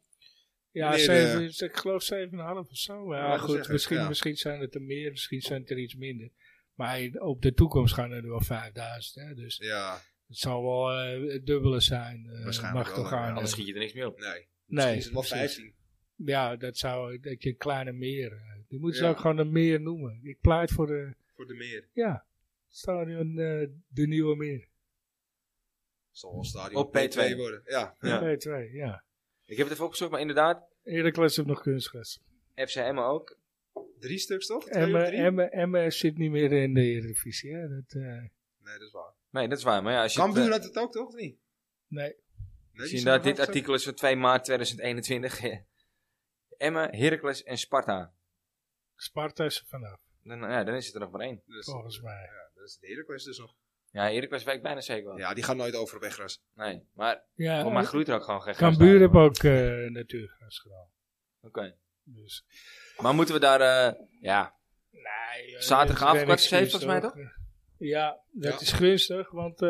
B: Ja,
C: Meneer,
B: zeven, dus ik geloof 7,5 of zo. Maar
C: eh, Ja,
B: ja,
C: dat zeg
B: goed,
C: ik,
B: misschien,
C: ja.
B: misschien zijn het er meer, misschien zijn het er iets minder. Maar in- op de toekomst gaan er wel 5000. Hè, dus
C: Ja,
B: het zal wel eh, het dubbele zijn. eh,
C: Waarschijnlijk
B: mag
C: wel,
B: toch
C: ja.
B: aan. eh.
A: Anders schiet je er niks meer op.
C: nee.
B: nee,
C: Misschien is het wel
B: precies.
C: 15.
B: Ja, dat zou dat je een kleine meer. eh, Die moeten ze
C: Ja.
B: ook gewoon een meer noemen. Ik pleit voor de
C: Voor de meer.
B: ja, stadion eh, de nieuwe meer.
C: Zal wel stadion
A: Op
C: P2,
A: P2
C: worden. Ja.
A: Ja.
B: P2, ja.
A: Ik heb het even opgezocht, maar inderdaad,
B: Heracles heeft nog kunstgras.
A: FC Emmen ook.
C: Drie stuks toch? Twee of
B: Emmen
C: drie?
B: Emme, Emme zit niet meer in de Eredivisie. Hè? Dat, eh,
C: Nee, dat is waar.
A: Nee, dat is waar. Maar ja, als je,
C: Cambuur
A: het,
C: had het ook toch, of niet?
B: nee,
A: eh,
C: Nee, die
A: als je
C: zijn
A: inderdaad dit
C: nog
A: artikel is van 2 maart 2021. eh, Emmen, Heracles en Sparta.
B: Sparta is er vanaf,
A: Dan, nou ja, dan is het er nog maar één.
C: Dus,
B: volgens mij.
C: ja, dat is de Heracles dus nog.
A: Ja, Heracles weet ik bijna zeker wel.
C: Ja, die gaan nooit over op Eggras.
A: Nee, maar
B: Ja,
A: voor mij groeit er ook gewoon geen gras
B: Cambuur
A: bij.
B: heeft ook eh natuurgas gedaan.
A: Oké.
B: Dus,
A: Maar moeten we daar... eh, ja,
B: nee, eh,
A: Zaterdagavond
B: dat is
A: kwart voor zeven,
B: geen
A: volgens mij,
B: excuus, Eh, Ja, dat
C: Ja.
B: is gunstig, want eh,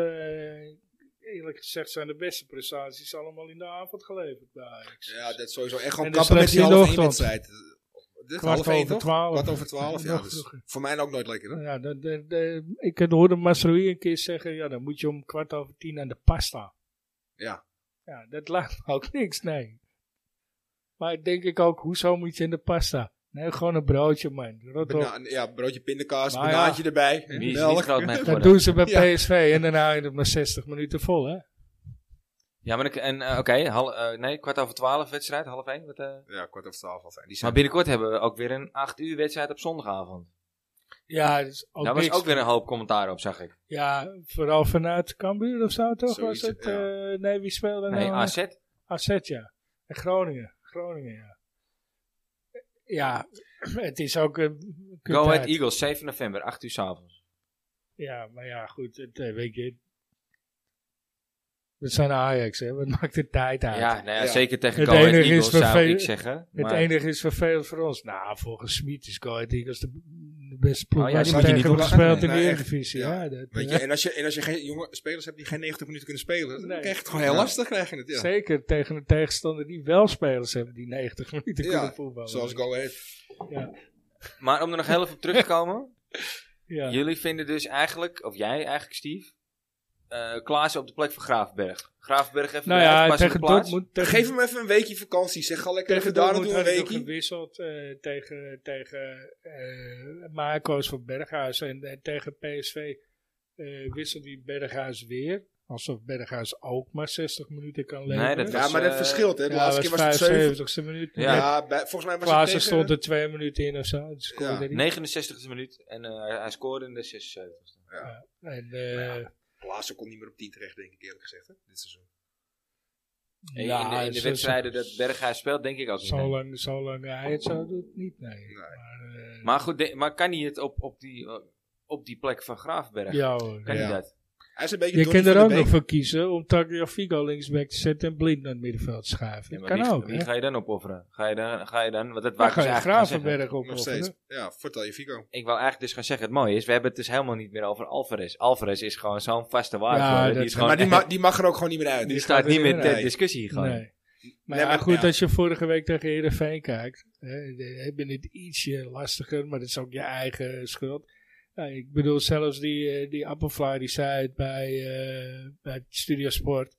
B: eerlijk gezegd zijn de beste prestaties allemaal in de avond geleverd bij Ajax.
C: Ja, dat is sowieso echt gewoon
B: En de
C: kappen met die
B: slechtste in de
C: halve één
B: ochtend.
C: wedstrijd. Dit
B: Kwart
C: half één,
B: over
C: toch?
B: twaalf.
C: Kwart over twaalf, ja.
B: Nog
C: dus
B: vroeger.
C: voor mij ook nooit lekker, hè?
B: Ja, dat- dat- dat- ik had hoorde Masrui een keer zeggen, ja, dan moet je om kwart over tien aan de pasta.
C: Ja.
B: Ja, dat laat me ook niks, nee. Maar denk ik ook, hoezo moet je in de pasta? Nee, gewoon een broodje, man. Rot op.
C: Bana- ja, broodje pindakaas,
B: Maar
C: banaantje erbij.
A: Wie is
C: melk.
A: niet groot mee
B: Dat
A: geworden?
B: doen ze bij
C: Ja.
B: PSV en daarna hou je het maar 60 minuten vol, hè?
A: Ja, maar ik, en, eh, oké, hal- eh, nee, kwart over twaalf wedstrijd, half één. Wat, eh.
C: Ja, kwart over twaalf al zijn. Die
A: Maar
C: zijn
A: binnenkort hebben we ook weer een acht uur wedstrijd op zondagavond.
B: Ja, dat is ook
A: Daar Nou, was
B: niks.
A: ook weer een hoop commentaar op, zag ik.
B: Ja, vooral vanuit Cambuur of zo, toch?
C: Zoiets,
B: was het?
C: ja.
B: eh, nee, wie speelde
A: Nee,
B: nou?
A: AZ.
B: AZ, ja. En Groningen. Groningen, ja. Ja, het is ook een kut
A: Go Ahead
B: uit.
A: Eagles, 7 november, 8 uur s'avonds.
B: Ja, maar ja, goed. Het, eh, weet je... We zijn Ajax, hè. Wat maakt de tijd uit?
A: Ja, nou ja,
C: Ja.
A: zeker tegen
B: Het
A: Go Ahead
B: enige is
A: Eagles zou
B: vervelend-
A: ik zeggen.
B: het
A: maar-
B: enige is vervelend voor ons. Nou, volgens Smit is Go Ahead Eagles de, de beste ploeg.
A: Oh ja,
B: waar
A: die
B: ze
C: moet je
B: tegen
C: niet
B: hebben gespeeld in
C: doen.
B: de
C: Nee, echt.
B: Eredivisie.
C: Ja.
B: Ja, dat,
C: Weet je, en als je, en als je geen jonge spelers hebt die geen 90 minuten kunnen spelen, dan
B: Nee.
C: krijg je het gewoon heel
A: Ja.
C: lastig. Krijg je het, ja.
B: Zeker tegen een tegenstander die wel spelers hebben die 90 minuten
C: Ja,
B: kunnen voetballen.
C: Zoals Go Ahead.
A: Maar om er nog heel even op terug te komen.
B: Ja.
A: Jullie vinden dus eigenlijk, of jij eigenlijk, Steve, eh Klaas op de plek van Graafberg. Graafberg even
B: Nou
A: de
B: ja,
A: uitpassende
B: tegen
A: plaats.
B: Dortmund... Tegen,
C: Geef hem even een weekje vakantie. Zeg, ga lekker even
B: tegen
C: daar
B: Dortmund
C: naartoe een
B: had ik nog
C: weekje.
B: gewisseld eh, tegen, tegen eh Marco's van Berghuis. En eh, tegen PSV eh wisselt die Berghuis weer. Alsof Berghuis ook maar 60 minuten kan leveren.
A: Nee, dat
C: Ja,
A: was,
C: maar dat
A: eh,
C: verschilt, hè. De
B: Ja,
C: laatste keer
B: was
C: was het 7.
B: 75ste minuut.
A: Ja.
C: Ja,
B: Ja.
C: bij- volgens mij was
B: Klaassen
C: het tegen...
B: stond er twee minuten in of zo. Dus scoorde
C: Ja.
B: die.
A: 69e minuut en eh, hij scoorde in de 76e.
B: En, eh,
C: Klaassen komt niet meer op 10 terecht, denk ik eerlijk gezegd. Hè, dit seizoen.
A: En
B: ja,
A: in de, in de
B: zo-
A: wedstrijden dat Berghuis speelt, denk ik ook niet.
B: Zo
A: nee.
B: lang, zo lang hij het zo doet, niet, nee.
C: Nee.
B: Maar, eh,
A: Maar goed, de- maar kan hij het op, op, die, eh, op die plek van Graafberg?
B: ja hoor.
A: Kan
C: Ja.
A: hij dat?
C: Hij is een beetje
B: Je
C: Donny
B: kunt er
C: van
B: ook
C: de
B: nog
C: Beek.
B: voor kiezen om Tagliafico linksback te zetten en Blind naar het middenveld te schuiven.
A: Ja, maar
B: dat kan
A: wie,
B: ook, hè?
A: Wie ga je dan opofferen? Ga je dan, ga je dan want dat
B: Dan
A: wou ik
B: ga
A: dus
B: je
A: eigenlijk gaan zeggen.
B: Gravenberg ook
C: Nog steeds. Ja, vertel je Fico.
A: Ik wou eigenlijk dus gaan zeggen, het mooie is, we hebben het dus helemaal niet meer over Alvarez. Alvarez is gewoon zo'n vaste waarde.
B: Ja,
A: geworden.
B: dat-
A: die, is
B: Ja,
A: gewoon,
C: maar die, ma- die mag er ook gewoon niet meer uit.
A: die
B: die
A: staat
B: gaat
A: niet
B: er
A: meer
B: niet
A: ter
C: uit.
A: discussie gewoon.
B: Nee. Maar,
C: Nee,
B: ja,
C: maar-
B: goed,
C: ja.
B: als je vorige week tegen Heerenveen kijkt, hè, dan heb je het ietsje lastiger, maar dat is ook je eigen schuld. Ja, ik bedoel, zelfs die, eh, die Applefly die zei het bij, eh bij Studio Sport.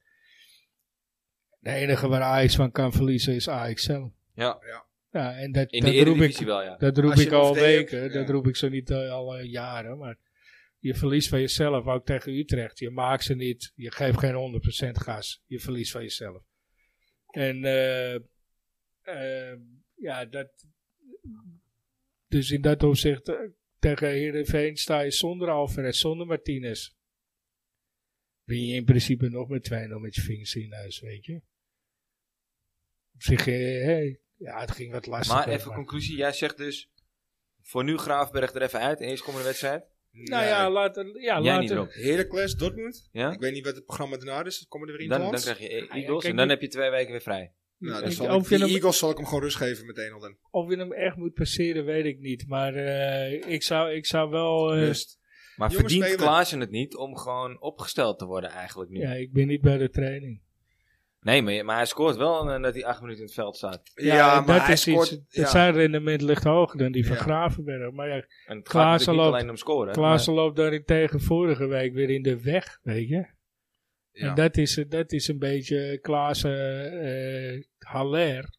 B: De enige waar Ajax van kan verliezen is Ajax zelf.
A: Ja.
C: Ja.
B: ja en dat,
A: In
B: dat
A: de
B: roep ik
A: Eredivisie wel, ja.
B: Dat roep
C: Als je
B: ik
C: het
B: al
C: over de
B: weken,
C: hebt,
B: dat
C: ja.
B: roep ik zo niet eh, al eh, jaren. Maar je verliest van jezelf, ook tegen Utrecht. Je maakt ze niet, je geeft geen 100% gas. Je verliest van jezelf. En eh, eh, ja, dat. Dus in dat opzicht, eh, tegen Heerenveen sta je zonder Alvarez, zonder Martinez. Win je in principe nog met 2-0 met je vingers in huis, weet je. Op zich, eh, hey, ja, het ging wat lastig.
A: Maar even conclusie, jij zegt dus, voor nu Graafberg er even uit, eerst komende wedstrijd.
B: Nou ja, later. Ja,
A: Jij niet
B: later.
A: erop.
C: Heracles, Dortmund.
A: Ja?
C: Ik weet niet wat het programma daarna is. Komen er weer in
A: Dan, dan
C: balans?
A: krijg je e-
B: Ah, ja,
A: Eagles
B: kijk,
A: en dan
B: die-
A: heb je twee weken weer vrij.
C: Nou,
B: Ik-
C: dan zal
B: of,
C: ik,
B: je Oh,
C: die
B: hem,
C: Eagles zal ik hem gewoon rust geven meteen al dan.
B: of je hem echt moet passeren, weet ik niet. Maar eh, ik, zou, ik zou wel. eh,
C: Rust.
A: Maar
C: Jongens,
A: verdient
C: spelen.
A: Klaassen het niet om gewoon opgesteld te worden eigenlijk nu?
B: ja, ik ben niet bij de training.
A: Nee, maar, maar hij scoort wel eh, dat hij acht minuten in het veld staat.
C: Ja, maar
B: dat
C: hij
B: is
C: scoort...
B: iets.
C: ja.
B: Het zijn rendement ligt hoger dan die van
C: Ja.
B: Gravenberg. Maar ja,
A: En het gaat
B: Klaassen
A: natuurlijk niet
B: loopt-
A: alleen om scoren.
B: Klaassen loopt daarentegen vorige week weer in de weg, weet je.
C: Ja.
B: En dat is, dat is een beetje Klaassen eh Haller.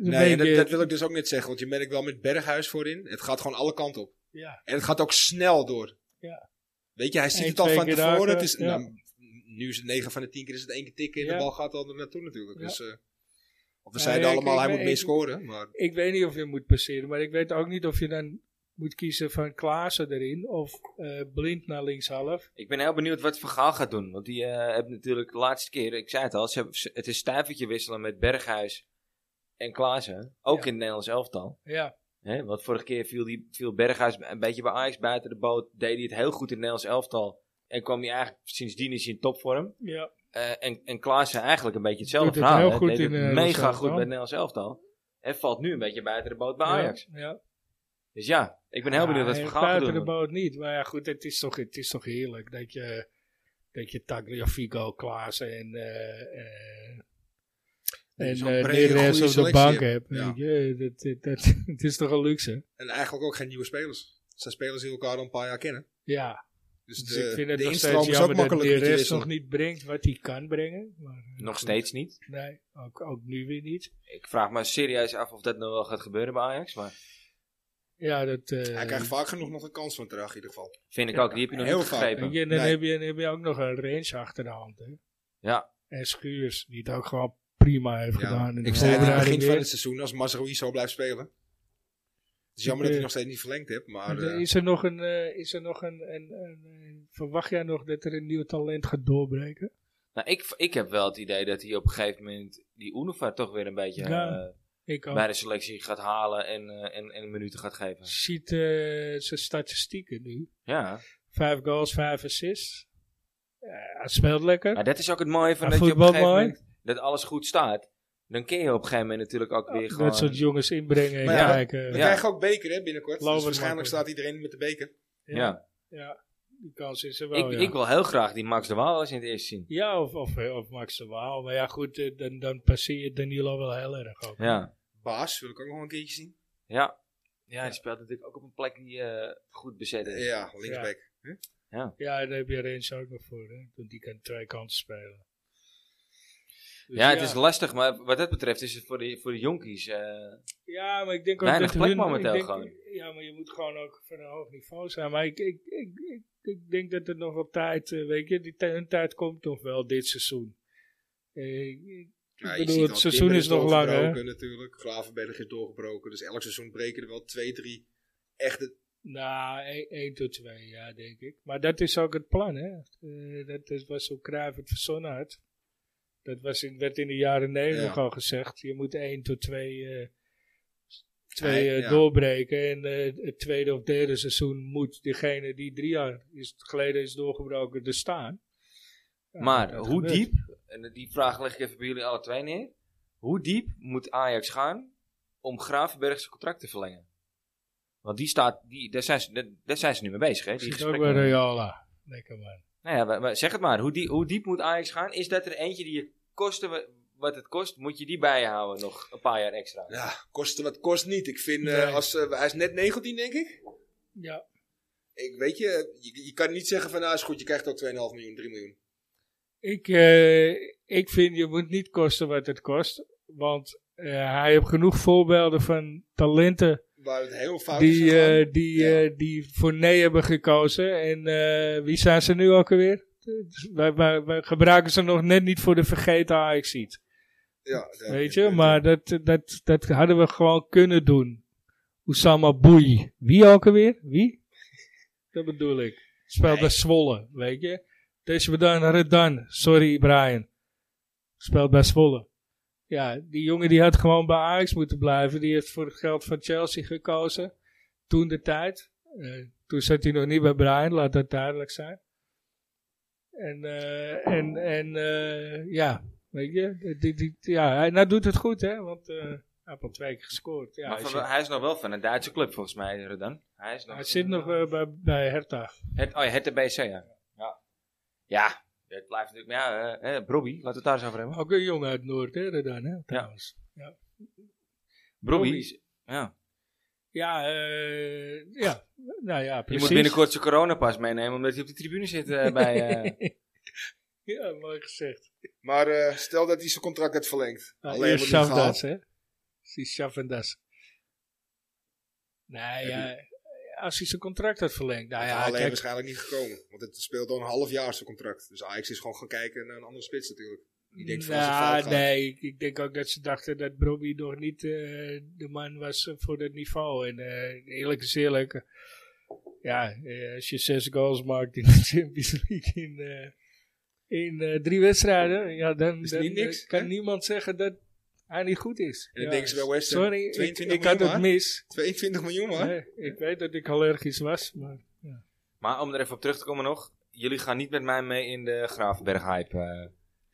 B: Een
C: Nee, en dat,
B: beetje-
C: dat wil ik dus ook niet zeggen. Want je merkt wel met Berghuis voorin. Het gaat gewoon alle kanten op.
B: ja.
C: En het gaat ook snel door.
B: Ja.
C: Weet je, hij ziet
B: Eén,
C: het al
B: twee
C: van
B: keer
C: tevoren.
B: raken,
C: Het is,
B: ja.
C: nou, nu is het 9 van de 10 keer is het één keer tikken. En
B: Ja.
C: de bal gaat al er naartoe natuurlijk.
B: Ja.
C: Dus, eh, want we
B: Ja,
C: zeiden
B: ja,
C: allemaal,
B: kijk,
C: hij
B: maar
C: moet meer
B: ik-
C: scoren. Maar
B: Ik weet niet of je moet passeren, maar ik weet ook niet of je dan moet kiezen van Klaassen erin of eh, blind naar linkshalf.
A: Ik ben heel benieuwd wat Van Gaal gaat doen. Want die eh heeft natuurlijk de laatste keer, ik zei het al, ze hebben- ze- het is stuivertje wisselen met Berghuis en Klaassen. Ook
B: Ja.
A: in het Nederlands elftal.
B: Ja,
A: Hè? Want vorige keer viel, die, viel Berghuis een beetje bij Ajax buiten de boot. Deed hij het heel goed in het Nederlands elftal. En kwam hij eigenlijk, sindsdien is hij in topvorm.
B: ja.
A: Eh, en, en Klaassen eigenlijk een beetje hetzelfde
B: Doet het
A: verhaal. hè.
B: heel goed
A: Deed
B: in eh,
A: het
B: het Nederlands
A: mega goed
B: elftal.
A: bij het Nederlands elftal. En valt nu een beetje buiten de boot bij Ajax.
B: Ja, ja.
A: Dus ja, ik ben heel
B: Ja,
A: benieuwd wat
B: en
A: Van Gaal gaat
B: Buiten
A: doen.
B: de boot niet, maar ja goed, het is toch, het is toch heerlijk dat je, dat je Tagliafico, Klaassen en... eh, eh, En
C: Zo'n
B: eh, de
C: brede,
B: rest
C: goede
B: op de
C: selectie
B: bank
C: hebt.
B: hebt.
C: Ja.
B: Jee, dat, dat, dat, het is toch een luxe?
C: En eigenlijk ook geen nieuwe spelers. Het zijn spelers die elkaar al een paar jaar kennen.
B: Ja,
C: Dus,
B: dus
C: de,
B: ik vind het
C: de
B: nog
C: instroom
B: steeds
C: is ook
B: jammer dat
C: makkelijk
B: de
C: met die
B: rest
C: wissel.
B: nog niet brengt wat hij kan brengen. Maar, eh,
A: Nog
B: goed.
A: steeds niet.
B: Nee, ook, ook nu weer niet.
A: Ik vraag me serieus af of dat nou wel gaat gebeuren bij Ajax. Maar
B: Ja, dat... eh,
C: Hij krijgt vaak genoeg nog een kans van terug in ieder geval.
A: vind ik ook, die heb je nog
C: Heel
A: niet
C: vaak.
B: Weet
A: gegrepen.
B: je, en dan,
C: Nee.
B: heb je, dan heb je ook nog een range achter de hand. Hè?
A: Ja.
B: En Schuurs, die het ook gewoon prima heeft
C: Ja,
B: gedaan. In de
C: ik zei het in het
B: voorbereiding
C: begin van
B: weer.
C: het seizoen, als Mazraoui zo blijft spelen. Het is jammer
B: eh,
C: dat hij nog steeds niet verlengd hebt, maar...
B: Maar,
C: eh,
B: is er nog, een, eh, is er nog een, een, een, een- Verwacht jij nog dat er een nieuw talent gaat doorbreken?
A: Nou, ik, ik heb wel het idee dat hij op een gegeven moment die Unuvar toch weer een beetje
B: Ja.
A: eh,
B: Ik ook.
A: bij de selectie gaat halen en, eh, en, en minuten gaat geven.
B: ziet eh, zijn statistieken nu.
A: Ja,
B: Vijf goals, vijf assists. Ja, hij speelt lekker.
A: maar dat is ook het mooie van
B: Hij
A: dat je op een
B: voetbalt
A: gegeven
B: mooi.
A: moment dat alles goed staat. Dan kun je op een gegeven moment natuurlijk ook weer gewoon...
B: Dat soort jongens inbrengen en
C: Maar ja,
B: kijken.
C: we
A: Ja.
C: krijgen ook beker hè, binnenkort.
B: Lauwers
C: Dus waarschijnlijk
B: maken.
C: staat iedereen met de beker.
A: ja.
B: Ja, die kans is er wel.
A: Ik,
B: ja.
A: ik wil heel graag die Max de Waal wel eens in het eerst zien.
B: Ja, of, of, of Max de Waal. Maar ja, goed, eh, dan, dan passeer je Danilo wel heel erg ook.
A: Ja.
C: Baas wil ik ook nog een keertje zien.
A: Ja. Ja, hij speelt natuurlijk ook op een plek die eh, goed bezet is.
C: Ja, linksback.
B: Ja, en daar heb je Rens ook nog voor. Hè? Want die kan twee kanten spelen. Dus
A: Ja, het is lastig, maar wat dat betreft is het voor de, voor de jonkies. eh,
B: Ja, maar ik denk ook
A: Weinig
B: dat
A: plek
B: hun-
A: momenteel
B: ik denk-
A: gewoon.
B: Ja, maar je moet gewoon ook van een hoog niveau zijn. Maar ik, ik, ik, ik, ik denk dat er nog wel tijd, eh, weet je, die tij- hun tijd komt nog wel dit seizoen. Eh, ik- ik
C: Ja, je
B: bedoel,
C: ziet
B: het
C: al,
B: seizoen
C: Timber
B: is nog lang, hè?
C: doorgebroken natuurlijk. Gravenberg is doorgebroken. Dus elk seizoen breken er wel twee, drie echte...
B: Nou, 1 tot 2, ja, denk ik. Maar dat is ook het plan, hè? Eh, dat is, was hoe Cruijff het verzonnen had. Dat was in, werd in de jaren 90
C: Ja.
B: al gezegd. Je moet 1 tot 2, eh twee
C: Ja,
B: eh,
C: ja.
B: doorbreken. En eh, het tweede of derde seizoen moet degene die drie jaar is, geleden is doorgebroken er staan. Ja,
A: maar
B: dat
A: hoe
B: gebeurt.
A: diep, en die vraag leg ik even bij jullie alle twee neer. Hoe diep moet Ajax gaan om Gravenberg zijn contract te verlengen? Want die staat, die, daar, zijn ze, daar, daar zijn ze nu mee bezig. Hè? Die
B: Zit ook eh, bij
A: gesprekken.
B: Reala. Lekker man.
A: Nou ja, maar- maar zeg het maar. Hoe, die, hoe diep moet Ajax gaan? Is dat er eentje die je kosten wa- wat het kost, moet je die bijhouden nog een paar jaar extra?
C: Ja, kosten wat kost niet. Ik vind, eh,
B: Nee.
C: als, eh, hij is net 19 denk ik.
B: Ja,
C: ik weet je, je, je kan niet zeggen van nou is goed, je krijgt ook 2,5 miljoen, 3 miljoen.
B: ik, eh, ik vind je moet niet kosten wat het kost. Want eh, hij heeft genoeg voorbeelden van talenten
C: Waar het heel fout is
B: die,
C: gegaan.
B: eh, die,
C: Ja.
B: eh, die voor nee hebben gekozen. En eh, wie zijn ze nu ook alweer? Dus Wij, wij, wij gebruiken ze nog net niet voor de vergeten ajax
C: ja, ja,
B: Weet
C: ja,
B: je,
C: ja.
B: maar dat, dat, dat hadden we gewoon kunnen doen. Oussama Boei. Wie ook alweer? Wie? Dat bedoel ik. Speelt bij Zwolle, weet je. Deze bedan Redan. Sorry, Brian. Speelt bij Zwolle. Ja, die jongen die had gewoon bij Ajax moeten blijven. Die heeft voor het geld van Chelsea gekozen. Toen de tijd. Eh, toen zat hij nog niet bij Brian, laat dat duidelijk zijn. En, eh, en, en eh, ja, weet je. Die, die, die- ja, hij nou doet het goed, hè. Want eh, hij heeft al twee keer gescoord. Ja,
A: maar
B: hij
A: van-
B: zit-
A: hij is nog wel van een Duitse club volgens mij, Redan. Hij, is nog
B: hij zit
A: een-
B: nog eh, bij, bij Hertha.
A: Het, oh ja, het BC, ja. Ja, ja het blijft natuurlijk... Maar ja, eh, eh, Brobby, laten we het daar eens over hebben.
B: Ook een jongen uit Noord, hè, dan, hè, trouwens.
A: Brobby,
B: Brobby.
A: is- ja.
B: Ja, eh, ja. Nou ja,
A: je
B: precies.
A: moet binnenkort zijn coronapas meenemen omdat hij op de tribune zit eh, bij... eh
B: Ja, mooi gezegd.
C: Maar eh, stel dat hij zijn contract had verlengd.
B: Nou,
C: Alleen
B: eerst
C: wordt niet
B: Shavdas,
C: gehaald.
B: hè. Precies, Shavdas. Nou ja, als hij zijn contract had verlengd. Nou ja,
C: alleen
B: kijk,
C: waarschijnlijk niet gekomen. Want het speelt al een half jaar zijn contract. Dus Ajax is gewoon gaan kijken naar een andere spits natuurlijk. Die denkt van als het fout
B: nou,
C: gaat.
B: nee, ik, ik denk ook dat ze dachten dat Bobby nog niet eh, de man was eh, voor dat niveau. En eh, eerlijk is eerlijk. eh, Ja, eh, als je zes goals maakt in de Champions League in, eh, in eh, drie wedstrijden, ja, dan,
C: Is
B: dan,
C: niet
B: eh,
C: niks,
B: kan
C: hè?
B: niemand zeggen dat hij niet goed is.
C: En dan
B: Ja,
C: denken ze bij West Ham,
B: Sorry, ik,
C: 22
B: ik had
C: miljoen,
B: het
C: maar.
B: mis.
C: 22 miljoen man.
B: Nee, ik weet dat ik allergisch was, maar
A: maar om er even op terug te komen nog... Jullie gaan niet met mij mee in de Gravenberg-hype. eh.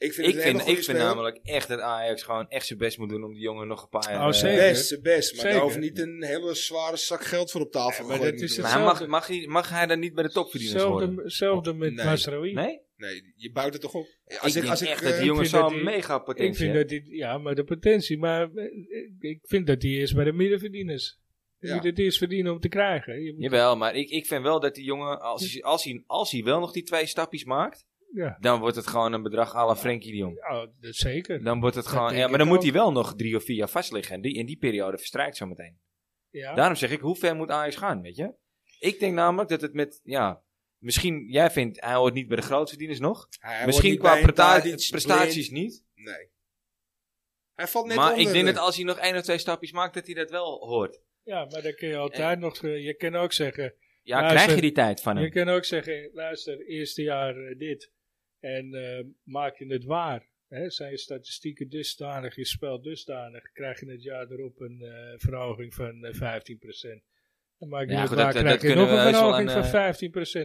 C: Ik vind
A: Ik
C: het een hele
A: vind,
C: goede
A: ik vind
C: speler.
A: namelijk echt dat Ajax gewoon echt zijn best moet doen om die jongen nog een paar jaar...
B: Oh,
A: eh,
B: zeker.
C: Best, zijn best. Maar daar
B: Zeker.
C: hoeft niet een hele zware zak geld voor op tafel
B: Ja, maar
C: gegooid
B: dat is
C: te
B: het
A: Maar
C: worden.
A: hij mag,
B: Hetzelfde-
A: mag, hij, mag hij dan niet bij de topverdieners worden?
B: hetzelfde, hetzelfde met
C: Nee.
B: Masraoui.
A: Nee?
C: Nee, je bouwt het toch op.
A: ik denk echt dat
C: eh,
A: die jongen
B: vind dat
A: zo'n
B: die-
A: mega
B: Ik
A: potentie
B: vind
A: heeft.
B: dat die, ja, maar de potentie. Maar eh, ik- ik vind dat die eerst bij de middenverdieners. Je
C: Ja.
B: moet het eerst verdienen om te krijgen. Je moet-
A: Jawel, maar ik, ik vind wel dat die jongen, als hij, als, hij, als hij wel nog die twee stapjes maakt,
B: Ja.
A: dan wordt het gewoon een bedrag à la Frenkie de Jong.
B: Ja, Oh, dat zeker.
A: Dan wordt het
B: Dat
A: gewoon,
B: denk
A: ja, maar
B: ik
A: dan moet
B: ook.
A: hij wel nog drie of vier jaar vastliggen. En die, in die periode verstrijkt zo meteen.
B: Ja.
A: Daarom zeg ik, hoe ver moet Ajax gaan, weet je? Ik denk namelijk dat het met, ja, misschien, jij vindt, hij hoort niet bij de grootverdieners nog.
C: hij hoort
A: misschien
C: niet
A: qua
C: bij een
A: preta-
C: Tadic,
A: prestaties niet.
C: Blind. Nee. Hij valt net
A: Maar
C: onder.
A: ik denk dat als hij nog één of twee stapjes maakt, dat hij dat wel hoort.
B: ja, maar dan kun je altijd nog. eh, Je kan ook zeggen.
A: Ja,
B: Luister,
A: krijg je die tijd van
B: Je
A: hem?
B: kan ook zeggen. Luister, eerste jaar eh, dit. En eh, maak je het waar. Hè? Zijn je statistieken dusdanig, je spel dusdanig. Krijg je het jaar erop een eh, verhoging van eh, 15%. En maak je
A: Ja,
B: het
A: goed,
B: waar,
A: dat- dat
B: krijg je
A: kunnen
B: nog een
A: we heus wel
B: verhoging
A: aan, eh,
B: van Ah,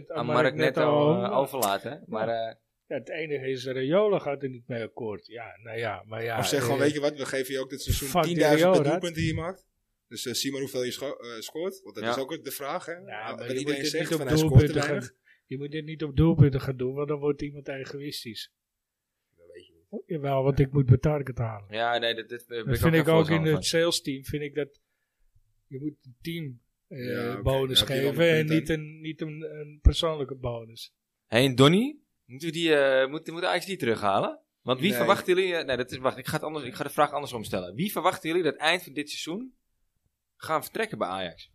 B: 15%.
A: Aan Mark net
B: Netto,
A: al eh,
B: eh,
A: overlaten. hè? Maar eh,
B: Ja, het enige is, Rayola gaat er niet mee akkoord. Ja, nou ja, maar ja.
C: Of zeg gewoon,
B: eh,
C: weet je wat, we geven je ook dit seizoen 10.000
B: Fuck die
C: per
B: Rio,
C: doelpunt die je maakt. Dus eh, zie maar hoeveel je scho- eh, scoort. Want dat
A: Ja.
C: is ook de vraag, hè.
B: Ja,
C: Wat
B: nou, maar je moet
C: iedereen
B: dit
C: zegt,
B: niet
C: van
B: op
C: hij scoort te
B: doelpunten
C: weinig.
B: gaan, je moet dit niet op doelpunten gaan doen, want dan wordt iemand egoïstisch.
C: Dat weet je niet.
B: Jawel, want ik moet mijn target halen.
A: ja, nee, dat, dat, ben
B: Dat
A: ik
B: vind
A: ook
B: ik
A: geen
B: ook in
A: voorstander
B: het sales team, vind ik dat je moet een team eh,
C: Ja, oké,
B: bonus
C: daar heb je wel
B: geven
C: een
B: en
C: punt
B: niet, een, niet een, een persoonlijke bonus.
A: Hé, en Donny? Moeten we die, eh moet, moet Ajax die terughalen? Want wie
C: Nee.
A: verwachten jullie... eh, nee, dat is, wacht, ik ga, het anders, ik ga de vraag andersom stellen. Wie verwachten jullie dat eind van dit seizoen gaan vertrekken bij Ajax?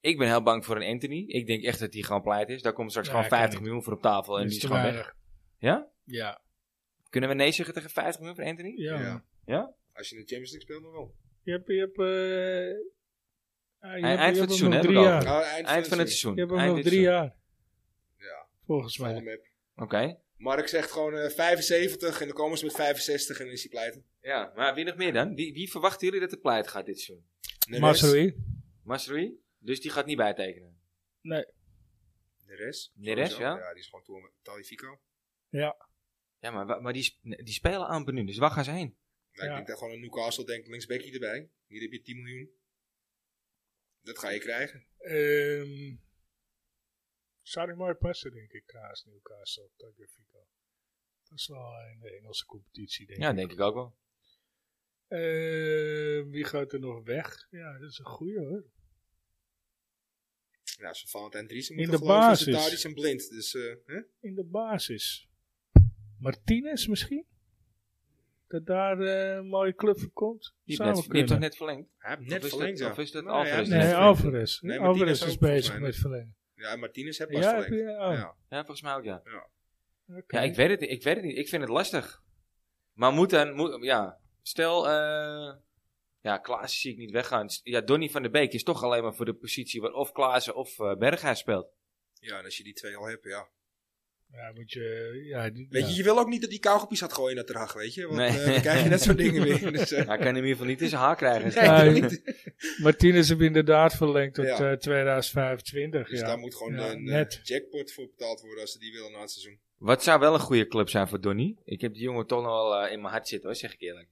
A: Ik ben heel bang voor een Anthony. Ik denk echt dat die gewoon pleit is. Daar komt straks
B: Ja,
A: gewoon
B: kan
A: 50
B: niet.
A: miljoen voor op tafel en die
B: Dat is
A: is
B: te
A: gewoon weg.
B: weinig.
A: Ja?
B: Ja,
A: Kunnen we nee zeggen tegen 50 miljoen voor Anthony?
B: ja.
C: Ja.
A: Ja?
C: Als je in de Champions League speelt, dan wel.
B: Je hebt, je hebt, eh, ah, je
A: Eind van het
B: hebt- je hebt
A: seizoen,
B: hem nog
A: hè, heb
B: drie
A: ik
B: jaar.
C: Nou,
A: Eind van het seizoen.
B: Je hebt hem
A: Eind
B: nog
A: dit
B: drie
A: seizoen.
B: jaar,
C: Ja,
B: volgens
C: volle
B: mij.
C: map.
A: Oké.
C: Mark zegt gewoon eh, 75 en dan komen ze met 65 en dan is hij pleiten.
A: Ja, maar wie nog meer dan? Wie, wie verwachten jullie dat er pleit gaat dit seizoen?
C: Neres.
B: Masrui.
A: Masrui? Dus die gaat niet bijtekenen.
C: Neres.
A: Neres,
C: Sowieso.
A: ja.
C: Ja, die is gewoon toe met Talifico. Nou,
A: Ja, maar, wa- maar die, sp- die spelen aan nu. Dus waar gaan ze heen?
C: Nou,
B: Ja.
C: Ik denk dat gewoon een Newcastle denkt, linksbekje erbij. Hier heb je 10 miljoen. Dat ga je krijgen.
B: Ehm zou ik maar passen, denk ik, naast Newcastle, Tagliafico. Dat is wel in de Engelse competitie, denk
A: Ja,
B: ik.
A: denk ik ook wel.
B: Ehm, wie gaat er nog weg? Ja, dat is een goeie hoor.
C: Nou, ze Valentijn Driessen
B: In
C: moeten
B: de
C: geloven. Ze
B: basis.
C: Tadic en Blind. Dus, eh, hè?
B: In de basis. Martinez misschien? Dat daar eh, een mooie club voor komt?
A: Die
B: Zou
A: heeft, net,
B: wel
A: die heeft toch
B: kunnen.
A: net verlengd?
C: Hij heeft
A: Of
C: net
A: is
C: verlengd,
A: dat-
C: ja.
A: of is dat
C: Nou,
A: Alvarez?
C: hij
A: net
B: Nee,
C: heeft-
A: verlengd.
B: Alvarez.
C: Nee, Martinez
B: Alvarez is
C: ook, volgens
B: bezig
C: mij.
B: met verlengen.
C: Ja, Martinez heeft pas
B: Ja, heb
C: verlengd.
B: je- oh,
C: Ja.
A: Ja, volgens mij ook, ja.
B: oké.
A: Ja, ik weet het, niet, ik weet het niet. Ik vind het lastig. Maar moet dan... Moet, ja, stel... eh, ja, Klaas zie ik niet weggaan. S- Ja, Donny van der Beek is toch alleen maar voor de positie waar of Klaassen of eh, Berghuis speelt.
C: ja, en als je die twee al hebt, ja.
B: Ja, moet je... Ja, die-
C: Weet
B: ja.
C: je, je wil ook niet dat die kauwgepies had gooien naar Drag, weet je. Want
A: Nee.
C: eh, dan krijg je net soort dingen weer. Dus, eh,
A: Hij kan hem in ieder geval niet in zijn haar krijgen.
C: krijg je
B: Nee.
C: dat niet.
B: Martinez heeft inderdaad verlengd tot
C: Ja.
B: eh, 2025.
C: Dus
B: ja.
C: daar moet gewoon
B: Ja,
C: een eh,
B: net.
C: jackpot voor betaald worden als ze die willen na het seizoen.
A: Wat zou wel een goede club zijn voor Donny? Ik heb die jongen toch nog wel eh, in mijn hart zitten, hoor, zeg ik eerlijk.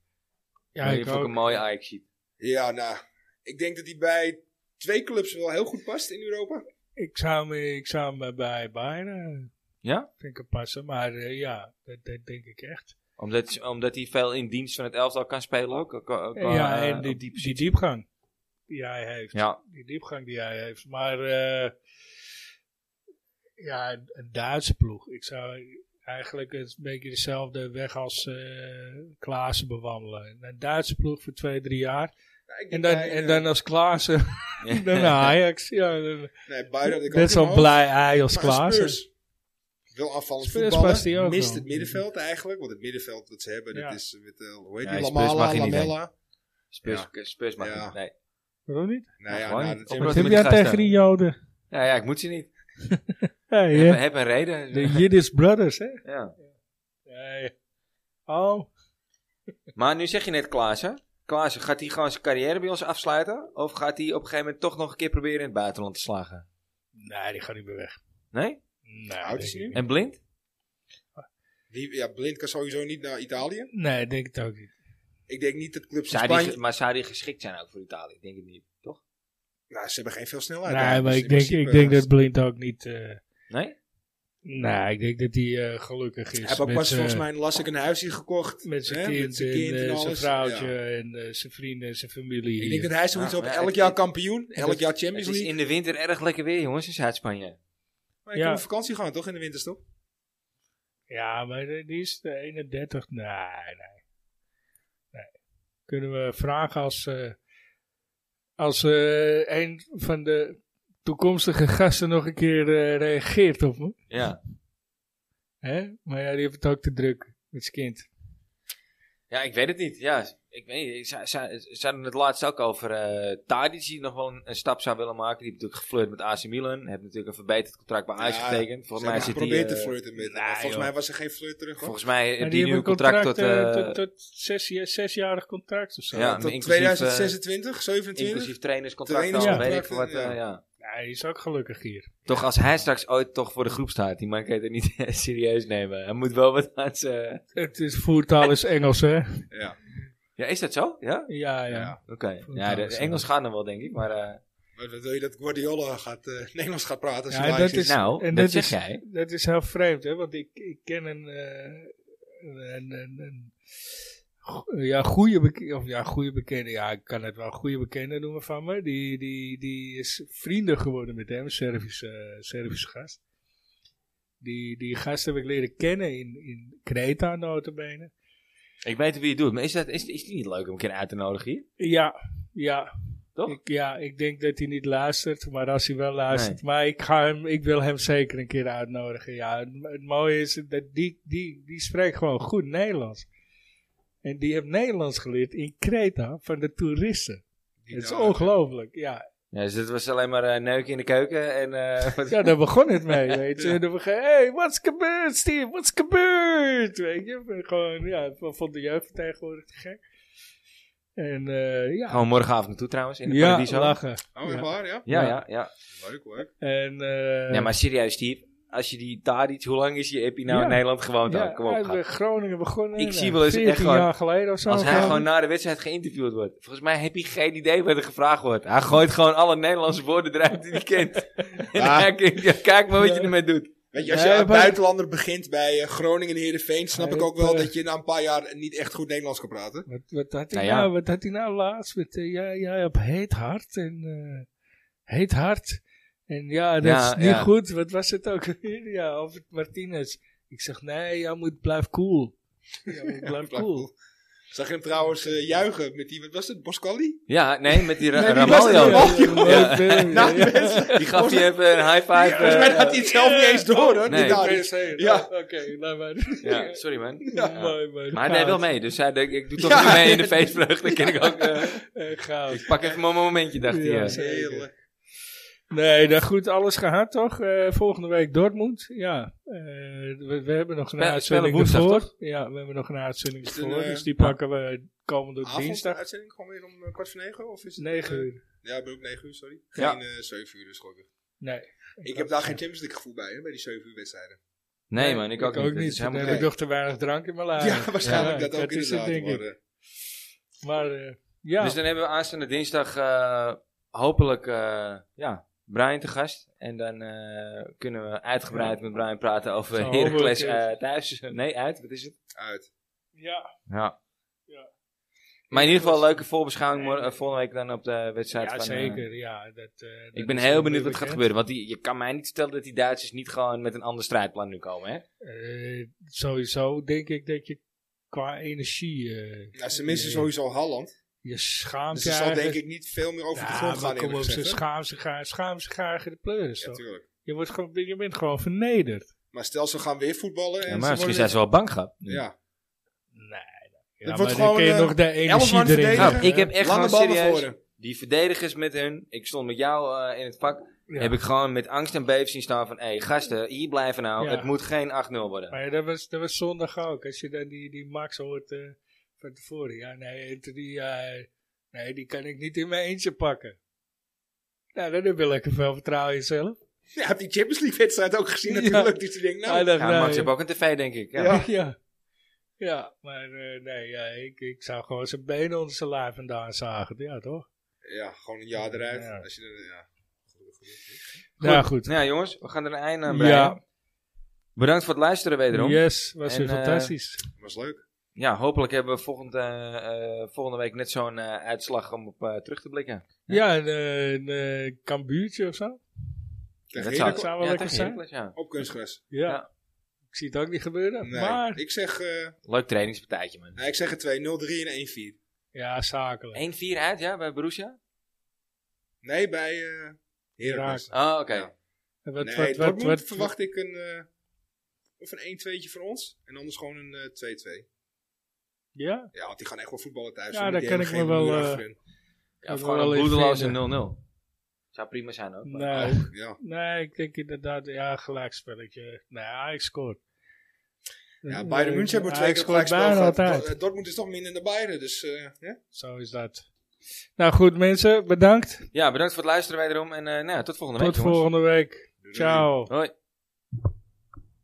B: Ja,
A: Maar die
B: ik
A: vond
B: ook.
A: een mooie ajax sheet.
C: Ja, nou, ik denk dat hij bij twee clubs wel heel goed past in Europa.
B: Ik zou hem, ik zou hem bij Bayern eh,
A: Ja?
B: vind ik passen. Maar eh, ja, dat, dat denk ik echt.
A: Omdat, omdat hij veel in dienst van het elftal kan spelen ook. ook, ook
B: En ja,
A: eh,
B: en die,
A: op die
B: die
A: positie.
B: diepgang die hij heeft.
A: Ja,
B: Die diepgang die hij heeft. Maar eh, ja, een, een Duitse ploeg. Ik zou eigenlijk een beetje dezelfde weg als eh Klaassen bewandelen. Een Duitse ploeg voor twee, drie jaar.
C: Nou, ik denk
B: En dan,
C: bij,
B: en
C: eh,
B: dan als Klaassen dan naar Ajax. Ja, dan,
C: Nee, Bayern had ik ook
B: dat is
C: in
B: wel
C: mijn hoofd.
B: blij hij als
C: Maar
B: Klaassen.
C: Spurs Wil aanvallend
B: Spurs past hij
C: voetballen.
B: ook
C: Mist
B: wel.
C: het middenveld eigenlijk. Want het middenveld wat ze hebben,
B: Ja.
C: dat is met, eh, hoe heet
A: Nee,
C: die,
A: Spurs
C: Lamala,
A: mag je niet
C: Lamella.
A: Spurs, Spurs mag
C: Ja.
A: niet. Nee.
B: Waarom niet?
C: Nou ja,
A: gewoon
C: nou,
A: niet.
C: dat
A: Op
B: Wat
C: hebben
A: Wat
C: we-
B: heb
A: met
B: jij
A: die gasten?
B: tegen die Joden?
A: Nou Ja, ja, ik moet ze niet.
B: Hey,
A: Ik
B: hè?
A: heb, heb een reden.
B: De Yiddish Brothers, hè?
A: Ja.
B: Oh,
A: Maar nu zeg je net Klaassen. Klaassen, gaat hij gewoon zijn carrière bij ons afsluiten? Of gaat hij op een gegeven moment toch nog een keer proberen in het buitenland te slagen?
B: nee, die gaat niet meer weg.
A: Nee?
B: Nee,
C: Oud
B: denk ik
C: is hij nu?
B: niet.
A: En blind?
C: die- ja, Blind kan sowieso niet naar Italië.
B: Nee, denk het ook niet.
C: Nou, Ik denk niet dat clubs in
A: Zou die, ge-
C: Spanje...
A: maar zou die geschikt zijn ook voor Italië? Ik denk het niet, toch?
C: Nou, ze hebben geen veel snelheid.
B: Nee,
C: daar.
B: maar
C: Dus
B: ik
C: in
B: denk,
C: principe,
B: ik denk
C: eh,
B: dat Blind ook niet... eh,
A: Nee?
B: Nou, ik denk dat hij eh, gelukkig is.
C: Hij heeft ook
B: met eh,
C: pas
B: zijn-
C: volgens mij een lastig een huisje gekocht.
B: Met zijn
C: hè,
B: kind,
C: met zijn
B: en,
C: kind
B: eh,
C: en
B: zijn
C: alles.
B: vrouwtje
C: Ja.
B: en eh, zijn vrienden en zijn familie.
C: Ik
B: hier.
C: denk dat hij zoiets
A: Ja,
C: op
A: maar
C: elk
A: het-
C: jaar kampioen, elk
B: het-
C: jaar
A: Het
C: Champions
A: is
C: League.
A: in de winter erg lekker weer, jongens, in Zuid-Spanje.
C: Maar je
B: Ja.
C: kan op vakantie gaan toch in de winterstop?
B: Ja, maar eh, die is de 31. Nee, nee. nee. Kunnen we vragen als, eh, als eh, een van de toekomstige gasten nog een keer eh, reageert op me.
A: Ja.
B: Hè? Maar ja, die heeft het ook te druk met zijn kind.
A: ja, ik weet het niet. Ja, ik weet niet. Ze, ze, ze hadden het laatst ook over eh Tadic, die nog wel een, een stap zou willen maken. Die heeft natuurlijk geflirt met AC Milan. Heeft natuurlijk een verbeterd contract bij Ajax
C: Ja,
A: getekend.
C: Ze
A: Volgens mij
C: hebben
A: zit
C: geprobeerd
A: die,
C: te
A: eh,
C: flirten met hem,
A: nou,
C: maar Volgens
A: joh.
C: mij was er geen flirt terug. hoor.
A: Volgens mij
B: Maar
A: heeft die nu een contract, tot...
B: eh,
A: eh,
B: tot, tot zes, ja, zesjarig contract of zo.
A: Ja.
C: Tot
A: inclusief, eh,
C: 2026, 27?
A: inclusief trainerscontract al,
B: Trainerscontract,
A: weet ik veel wat.
C: ja.
A: eh, ja.
B: Ja, hij is ook gelukkig hier.
A: Toch als hij straks ooit toch voor de groep staat, die man kan je het niet serieus nemen. Hij moet wel wat aan zijn...
B: Het is, voertaal is Engels, hè?
C: Ja.
A: Ja, is dat zo? Ja?
B: Ja, ja.
C: ja.
A: Oké. Ja, de, de Engels gaan dan wel, denk ik, maar... eh,
C: Maar wat wil je dat Guardiola gaat, eh, Nederlands gaat praten als
B: Ja,
C: hij
B: en
C: live
B: dat
C: is?
B: is-
A: nou,
B: en
A: dat,
B: dat
A: zeg
B: is-
A: jij.
B: Dat is heel vreemd, hè? Want ik, ik ken een, eh, een, een, een go- ja, goede bekende, of ja, goede bekende, ja, ik kan het wel goede bekende noemen van me. Die, die, die is vrienden geworden met hem, een Servische, eh, Servische gast. Die, die gast heb ik leren kennen in, in Creta, notabene.
A: Ik weet wie het doet, maar is, dat, is, is die niet leuk om een keer uit te nodigen hier?
B: Ja, ja.
A: Toch?
B: Ik, ja, ik denk dat hij niet luistert, maar als hij wel luistert. Maar ik, ga hem, ik wil hem zeker een keer uitnodigen. Ja, het, het mooie is dat die, die, die spreekt gewoon goed Nederlands. En die heeft Nederlands geleerd in Creta van de toeristen.
C: Die
B: het is
C: daar-
B: ongelooflijk, ja.
A: Ja, dus het was alleen maar eh neuken in de keuken en... eh, wat-
B: Ja, daar begon het mee, weet je. Dan begon, hey, what's gebeurd, Steve? What's gebeurd? Weet je, gewoon, ja, van- vond de jeugd tegenwoordig te gek. En eh, ja,
A: Gewoon Oh, morgenavond naartoe trouwens, in de
B: ja
A: Paradiso.
B: lachen.
C: Oh, echt
B: Ja.
C: waar, ja?
A: Ja,
B: Ja.
A: ja, ja.
C: Leuk, leuk.
B: En, eh,
A: Nee, maar serieus, Steve. Als je die Tadic, hoe lang is je, heb je nou
B: Ja.
A: in Nederland gewoond dan?
B: Ja,
A: Kom op,
B: uit
A: gast.
B: Groningen begonnen.
A: Ik
B: eh,
A: zie wel eens echt
B: 14
A: gewoon-
B: jaar geleden of zo.
A: Als hij
B: Ja.
A: gewoon na de wedstrijd geïnterviewd wordt. Volgens mij heb je geen idee wat er gevraagd wordt. Hij gooit gewoon alle Nederlandse woorden eruit die hij kent. En
C: Ah.
A: hij kijkt, ja, kijk maar wat je
B: Ja.
A: ermee doet.
C: Weet je, als je
B: Nee,
C: een
B: maar-
C: buitenlander begint bij eh, Groningen en Heerenveen, snap
B: Hij
C: ik ook
B: heeft,
C: wel
B: eh,
C: dat je na een paar jaar niet echt goed Nederlands kan praten.
B: Wat, wat, had hij
A: Nou ja.
B: nou, wat had hij nou laatst? Met, eh, ja, ja, op heet hart. En, eh, heet hart. En ja, dat
A: Ja,
B: is niet
A: ja.
B: goed. Wat was het ook weer? Ja, of het Martinez. Ik zeg, nee, jij moet blijf cool. Ja, moet blijf
C: Vlak
B: cool.
C: cool. Zag je hem trouwens eh, juichen met die, wat was het, Boscali?
A: Ja, nee, met die Ra-
C: Nee, die was
A: Ramaljo.
C: er wel.
B: Ja, ja,
C: Nou,
B: ja.
C: mensen,
A: Die gaf je even een high five.
C: Volgens mij
A: eh,
C: had hij het zelf niet eens door, hoor.
A: Nee.
C: die daar is.
B: PSV,
C: Ja.
B: Oké, laat maar.
A: ja, sorry man.
B: Ja, mooi, mooi.
A: Maar hij deed wel
B: Goud.
A: mee, dus hij denkt, ik doe toch
C: Ja.
A: niet mee in de feestvreugde. Ken ik ook. eh,
B: Eh, goud.
A: ik pak even mijn momentje, dacht hij.
B: Ja.
A: eh.
B: Zeker.
C: Heerlijk.
B: Nee, dat goed, alles gehad toch? Eh, volgende week Dortmund. Ja, eh, we, we hebben nog
A: Spel-
B: een
A: spelen
B: uitzending
A: woensdag,
B: ervoor.
A: toch?
B: Ja, we hebben nog een uitzending
C: Is het een,
B: ervoor.
C: eh,
B: Dus die
A: ja.
B: pakken we komende
C: Avond, de
B: dinsdag.
C: uitzending, gewoon weer om eh, kwart voor negen? Of is het,
B: 9
C: eh,
B: uur.
C: Ja, ik ben ook 9 uur, sorry. Geen
A: Ja.
C: eh, 7 uur, dus gelukkig.
B: Nee.
C: Ik heb daar geen Champions League gevoel bij, hè, bij die 7 uur wedstrijden.
A: Nee man, ik ook niet. Het is
B: Dan
A: helemaal
B: heb ik
A: gek.
B: nog te weinig drank in mijn laag.
C: ja, waarschijnlijk
B: ja,
C: dat ook
B: dat is het,
C: inderdaad.
B: denk ik.
C: maar, eh,
B: Maar eh, ja,
A: Dus dan hebben we aanstaande dinsdag eh, hopelijk eh, ja, Brian te gast. En dan eh, kunnen we uitgebreid met Brian praten over
B: Zo,
A: Heracles
B: hopelijk,
A: eh, thuis. Nee, uit. Wat is het?
C: eh, uit.
B: ja,
A: Ja.
B: Ja.
A: Maar in ieder geval een leuke voorbeschouwing mor- eh, volgende week dan op de wedstrijd.
B: ja
A: van, eh,
B: zeker. ja, dat, eh, dat
A: ik ben
B: is
A: heel
B: wel
A: benieuwd
B: weer
A: wat gaat
B: bekend.
A: gebeuren. Want die, je kan mij niet vertellen dat die Duitsers niet gewoon met een ander strijdplan nu komen. Hè?
B: Eh, sowieso denk ik dat je qua energie eh,
C: Nou, ze missen
B: Ja.
C: sowieso Halland.
B: je schaamt
C: Dus
B: je
C: er zal denk
B: eigenlijk-
C: ik niet veel meer over de
B: Ja,
C: grond
B: maar
C: gaan.
B: kom
C: eerlijk
B: op, ze
C: gezegd, hè.
B: schaam zich aan- schaam zich aan de pleuris.
C: Ja,
B: toch?
C: tuurlijk.
B: je, wordt gewoon, je bent gewoon vernederd.
C: Maar stel, ze gaan weer voetballen. En
A: Ja,
C: ze
A: maar misschien
C: worden-
A: zijn ze wel bang gehad.
C: Ja,
B: Nee. Ja,
C: wordt
B: maar dan
C: gewoon,
B: kun je
C: eh,
B: nog de
C: elf
B: energie
C: man
B: erin
C: verdedigen.
B: gaan,
A: Nou, ik
B: hè?
A: heb echt
C: lange
A: gewoon
C: bal naar
A: serieus...
C: voren.
A: Die verdedigers met hun. Ik stond met jou eh, in het vak.
B: Ja.
A: Heb ik gewoon met angst en beef zien staan van... Hé, hey, gasten, hier blijven nou.
B: Ja.
A: Het moet geen 8-0 worden.
B: Maar ja, dat, was, dat was zondag ook. Als je dan die, die Max hoort eh, van tevoren. Ja, nee, Anthony, ja, nee, die kan ik niet in mijn eentje pakken. Nou, dan heb je lekker veel vertrouwen in jezelf.
C: ja, heb die Champions League wedstrijd ook gezien
B: Ja.
C: natuurlijk. Dus die denkt,
B: Hij
C: nou...
B: dacht,
A: Ja,
B: nou,
A: Max
B: ja.
A: heeft ook een tv, denk ik. Ja.
C: Ja.
A: Ja.
B: ja. Ja, maar eh, nee, ja, ik, ik zou gewoon zijn benen onder zijn lijf vandaan zagen. Ja, toch?
C: Ja, gewoon een jaar eruit.
B: Ja.
C: Als je, er- ja.
B: Ja, Nou, goed.
A: jongens, we gaan er een einde aan breien.
B: Ja,
A: Bedankt voor het luisteren wederom.
B: Yes, was
A: En,
B: weer
A: eh,
B: fantastisch.
C: Was leuk.
A: Ja, hopelijk hebben we volgende, eh, eh, volgende week net zo'n eh, uitslag om op eh, terug te blikken.
B: ja, een, eh, een eh, kambuurtje of zo.
C: Tegen
A: dat
C: Heracles
B: zou wel
A: ja,
B: lekker
A: tegen
B: zijn.
A: Heracles, ja.
C: op kunstgras.
B: Ja.
A: Ja.
B: Ik zie het ook niet gebeuren.
C: Nee,
B: Maar,
C: ik zeg, eh
A: Leuk trainingspartijtje, man. 1-4
C: nou, ik zeg het 2, 0, 3 en 1-4.
B: ja, zakelijk.
A: uit, ja, bij Borussia?
C: Nee, bij eh Heracles.
A: Oh, oké.
C: Ja.
B: En Wat,
C: nee,
B: wat, wat,
C: Dortmund
B: wat-
C: verwacht ik een, eh, of een 1-2'tje voor ons. En anders gewoon een eh, 2-2.
B: Ja,
C: ja, want die gaan echt wel voetballen thuis.
B: Ja,
C: hoor, met
B: daar
C: die
B: kan
C: hele
B: ik me
C: gele
B: wel,
C: muur
B: eh,
C: achterin.
A: Ja,
B: Ik
A: of
B: wil
A: gewoon
B: wel
A: een
B: even Nou.
A: bloedeloze 0-0. Zou prima zijn ook. maar-
B: nee.
C: Ook, ja.
B: Nee, ik denk inderdaad, ja, gelijkspelletje. Nou, Ajax scoort.
C: ja,
B: Eh,
C: Bayern München hebben we twee
B: Ajax
C: keer
B: scoort
C: gelijk
B: bijna altijd.
C: gehad. Eh, Dortmund is toch minder dan Bayern, dus eh, ja.
B: Zo is dat. Nou goed mensen, bedankt.
A: Ja, bedankt voor het luisteren wederom. En eh, nou, ja, tot volgende
B: Tot
A: week, jongens.
B: volgende week.
C: Doei, doei.
B: Ciao.
A: Hoi.